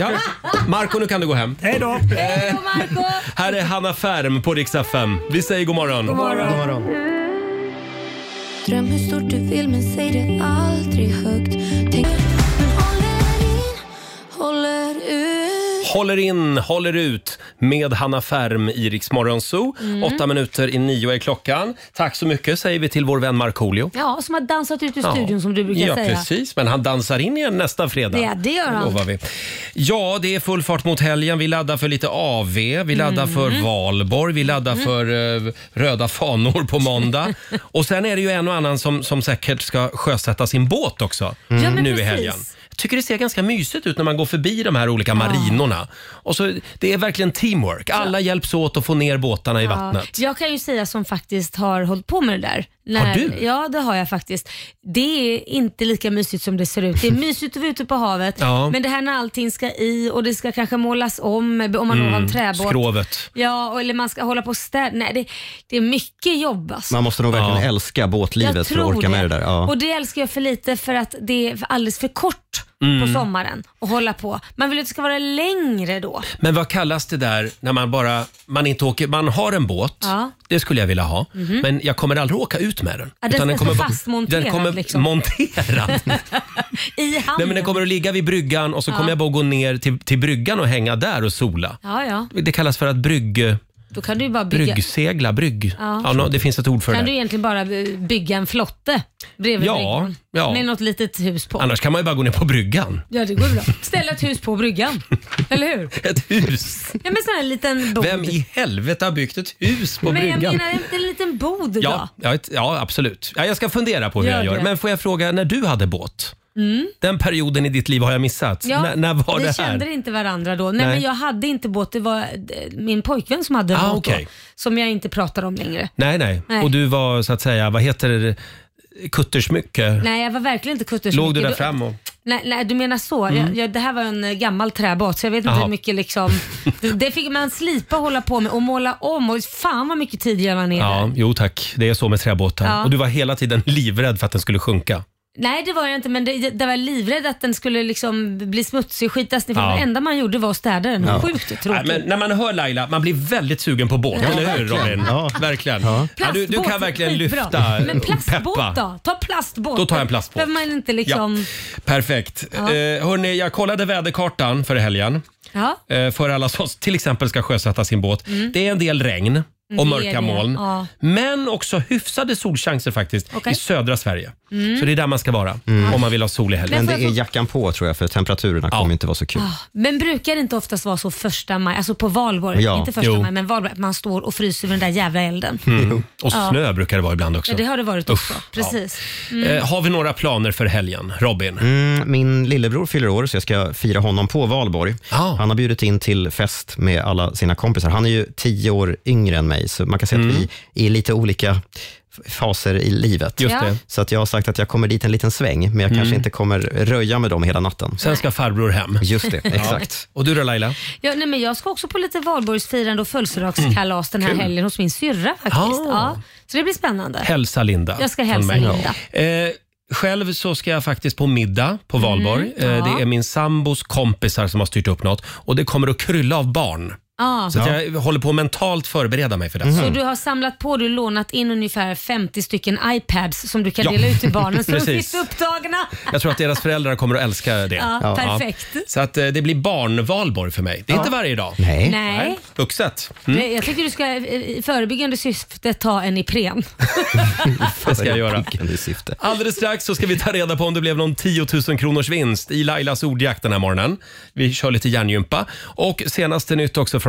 Ja. Marco, nu kan du gå hem. Hej då! Hej då Marco! Här är Hanna Färm på Rix FM. Vi säger god morgon. God morgon. God Dröm hur stort du vill men säg det aldrig högt. Tänk men håller in, håller ut. Håller in, håller ut med Hanna Färm i Rix Morgon Zoo. Mm. Åtta minuter i nio är klockan. Tack så mycket säger vi till vår vän Markoolio. Ja, som har dansat ut ur studion Ja. som du brukar ja, säga. precis. Men han dansar in igen nästa fredag. Ja, det gör han. lovar vi. Ja, det är full fart mot helgen. Vi laddar för lite AV, vi laddar Mm. för valborg, vi laddar Mm. för eh, röda fanor på måndag. och sen är det ju en och annan som, som säkert ska sjösätta sin båt också Mm. Ja, men nu i precis. helgen. Jag tycker det ser ganska mysigt ut när man går förbi de här olika marinorna. Och så, det är verkligen teamwork. Alla hjälps åt att få ner båtarna i vattnet. Ja, jag kan ju säga som faktiskt har hållit på med det där. Har du? Ja, det har jag faktiskt. Det är inte lika mysigt som det ser ut. Det är mysigt att vara ute på havet, Ja. men det här när allting ska i och det ska kanske målas om, om man mm. har en träbåt. Skrovet. Ja, och- eller man ska hålla på och städa. Nej, det, det är mycket jobb alltså. Man måste nog verkligen älska båtlivet för att orka med det där. Ja. Och det älskar jag för lite för att det är alldeles för kort Mm. på sommaren att hålla på. Man vill ju att det ska vara längre då. Men vad kallas det där när man bara, man inte åker, man har en båt. Ja. Det skulle jag vilja ha, Mhm. men jag kommer aldrig åka ut med den. Ja, den ska kommer stå vara- fastmonterad, Den kommer liksom. monterad. I hamnen. Nej, men den kommer att ligga vid bryggan och så Ja. kommer jag bara gå ner till, till bryggan och hänga där och sola. Ja, ja. Det kallas för att brygg, Då kan du ju bara bygga... bryggsegla, brygg. Ja. Ja. nå- det finns ett ord för kan det. du egentligen bara by- bygga en flotte bredvid Ja, bryggan? ja. Med något litet hus på. Annars kan man ju bara gå ner på bryggan. Ja, det går bra. Ställa ett hus på bryggan. Eller hur? Ett hus. Ja, men sån här liten bod. Vem i helvete har byggt ett hus på men bryggan? jag menar en, en liten bod ja, då. ja, ett- ja, absolut. Ja, jag ska fundera på hur Gör jag gör. det. Men får jag fråga, när du hade båt? Mm. Den perioden i ditt liv har jag missat. Ja, när, när var vi det här? kände inte varandra då. Nej, Nej. men jag hade inte båt. Det var eh, min pojkvän som hade Ah, båt okej. då, Som jag inte pratar om längre. Nej, nej, Nej. Och du var så att säga, vad heter det? Kuttersmycke? Nej, jag var verkligen inte kutters. Låg du där fram och... Nej, nej, du menar så. Mm. Jag, jag, det här var en eh, gammal träbåt så jag vet inte Jaha. hur mycket liksom... Det, det fick man slipa och hålla på med och måla om och fan vad mycket tid man ner Ja, där. jo tack. Det är så med träbåtar. Ja. Och du var hela tiden livrädd för att den skulle sjunka. Nej det var jag inte men det, det var jag livrädd att den skulle liksom bli smutsig och skitas ner. För Ja. Det enda man gjorde var att städa den. Ja. Sjukt tråkigt. Nej, men när man hör Laila, man blir väldigt sugen på båt. Ja, eller hur verkligen. Robin? Ja. Verkligen. Ja, du, du Plastbåt kan är verkligen skitbra. lyfta eh, Men plastbåt peppa. då? Ta plastbåt. Då tar jag en plastbåt. Behöver man inte liksom... Ja, perfekt. Ja. Eh, hörni, jag kollade väderkartan för helgen. Ja. Eh, för alla som till exempel ska sjösätta sin båt. Mm. Det är en del regn Det är och mörka det. moln. Ja. Men också hyfsade solchanser faktiskt Okej. i södra Sverige. Mm. Så det är där man ska vara om man vill ha sol i helgen. Men får jag få- jackan på tror jag Ah. för temperaturerna kommer inte vara så kul. Men brukar det inte oftast vara så första maj, alltså på valborg, Ja. inte första Jo. maj, men valborg, att man står och fryser vid den där jävla elden? Mm. Och Ja. snö brukar det vara ibland också. Ja, det har det varit också. Usch, ja. Precis. Eh, har vi några planer för helgen, Robin? Mm, min lillebror fyller år så jag ska fira honom på valborg. Ah. Han har bjudit in till fest med alla sina kompisar. Han är ju tio år yngre än mig, så man kan säga att Mm. vi är i lite olika f- faser i livet. Just det. Ja. Så att jag har sagt att jag kommer dit en liten sväng, men jag kanske Mm. inte kommer röja med dem hela natten. Sen ska farbror hem. Just det, Ja. exakt. Och du då Laila? Ja, nej, men jag ska också på lite valborgsfirande och födelsedagskalas den här Mm. Kul. helgen hos min syrra faktiskt. Ah. Ja, så det blir spännande. Hälsa Linda. Jag ska från hälsa mig. Linda. Eh, själv så ska jag faktiskt på middag på valborg. Mm, ja. eh, det är min sambos kompisar som har styrt upp något och det kommer att krylla av barn. Ja. Mhm. Så att jag håller på att mentalt förbereda mig för det. Så du har samlat på du lånat in ungefär 50 stycken iPads som du kan Ja. dela ut till barnen så de Precis. sitter upptagna. Jag tror att deras föräldrar kommer att älska det. Ja, perfekt. Så att eh, det blir barnvalborg för mig. Det är inte varje dag. Nej. Nej. Vuxet. Men Jag tycker du ska eh, i förebyggande syfte ta en Ipren. Det ska jag göra. Syfte. Alldeles strax så ska vi ta reda på om det blev någon 10 000 kronors vinst i Lailas ordjakt den här morgonen. Vi kör lite hjärngympa. Och senaste nytt också från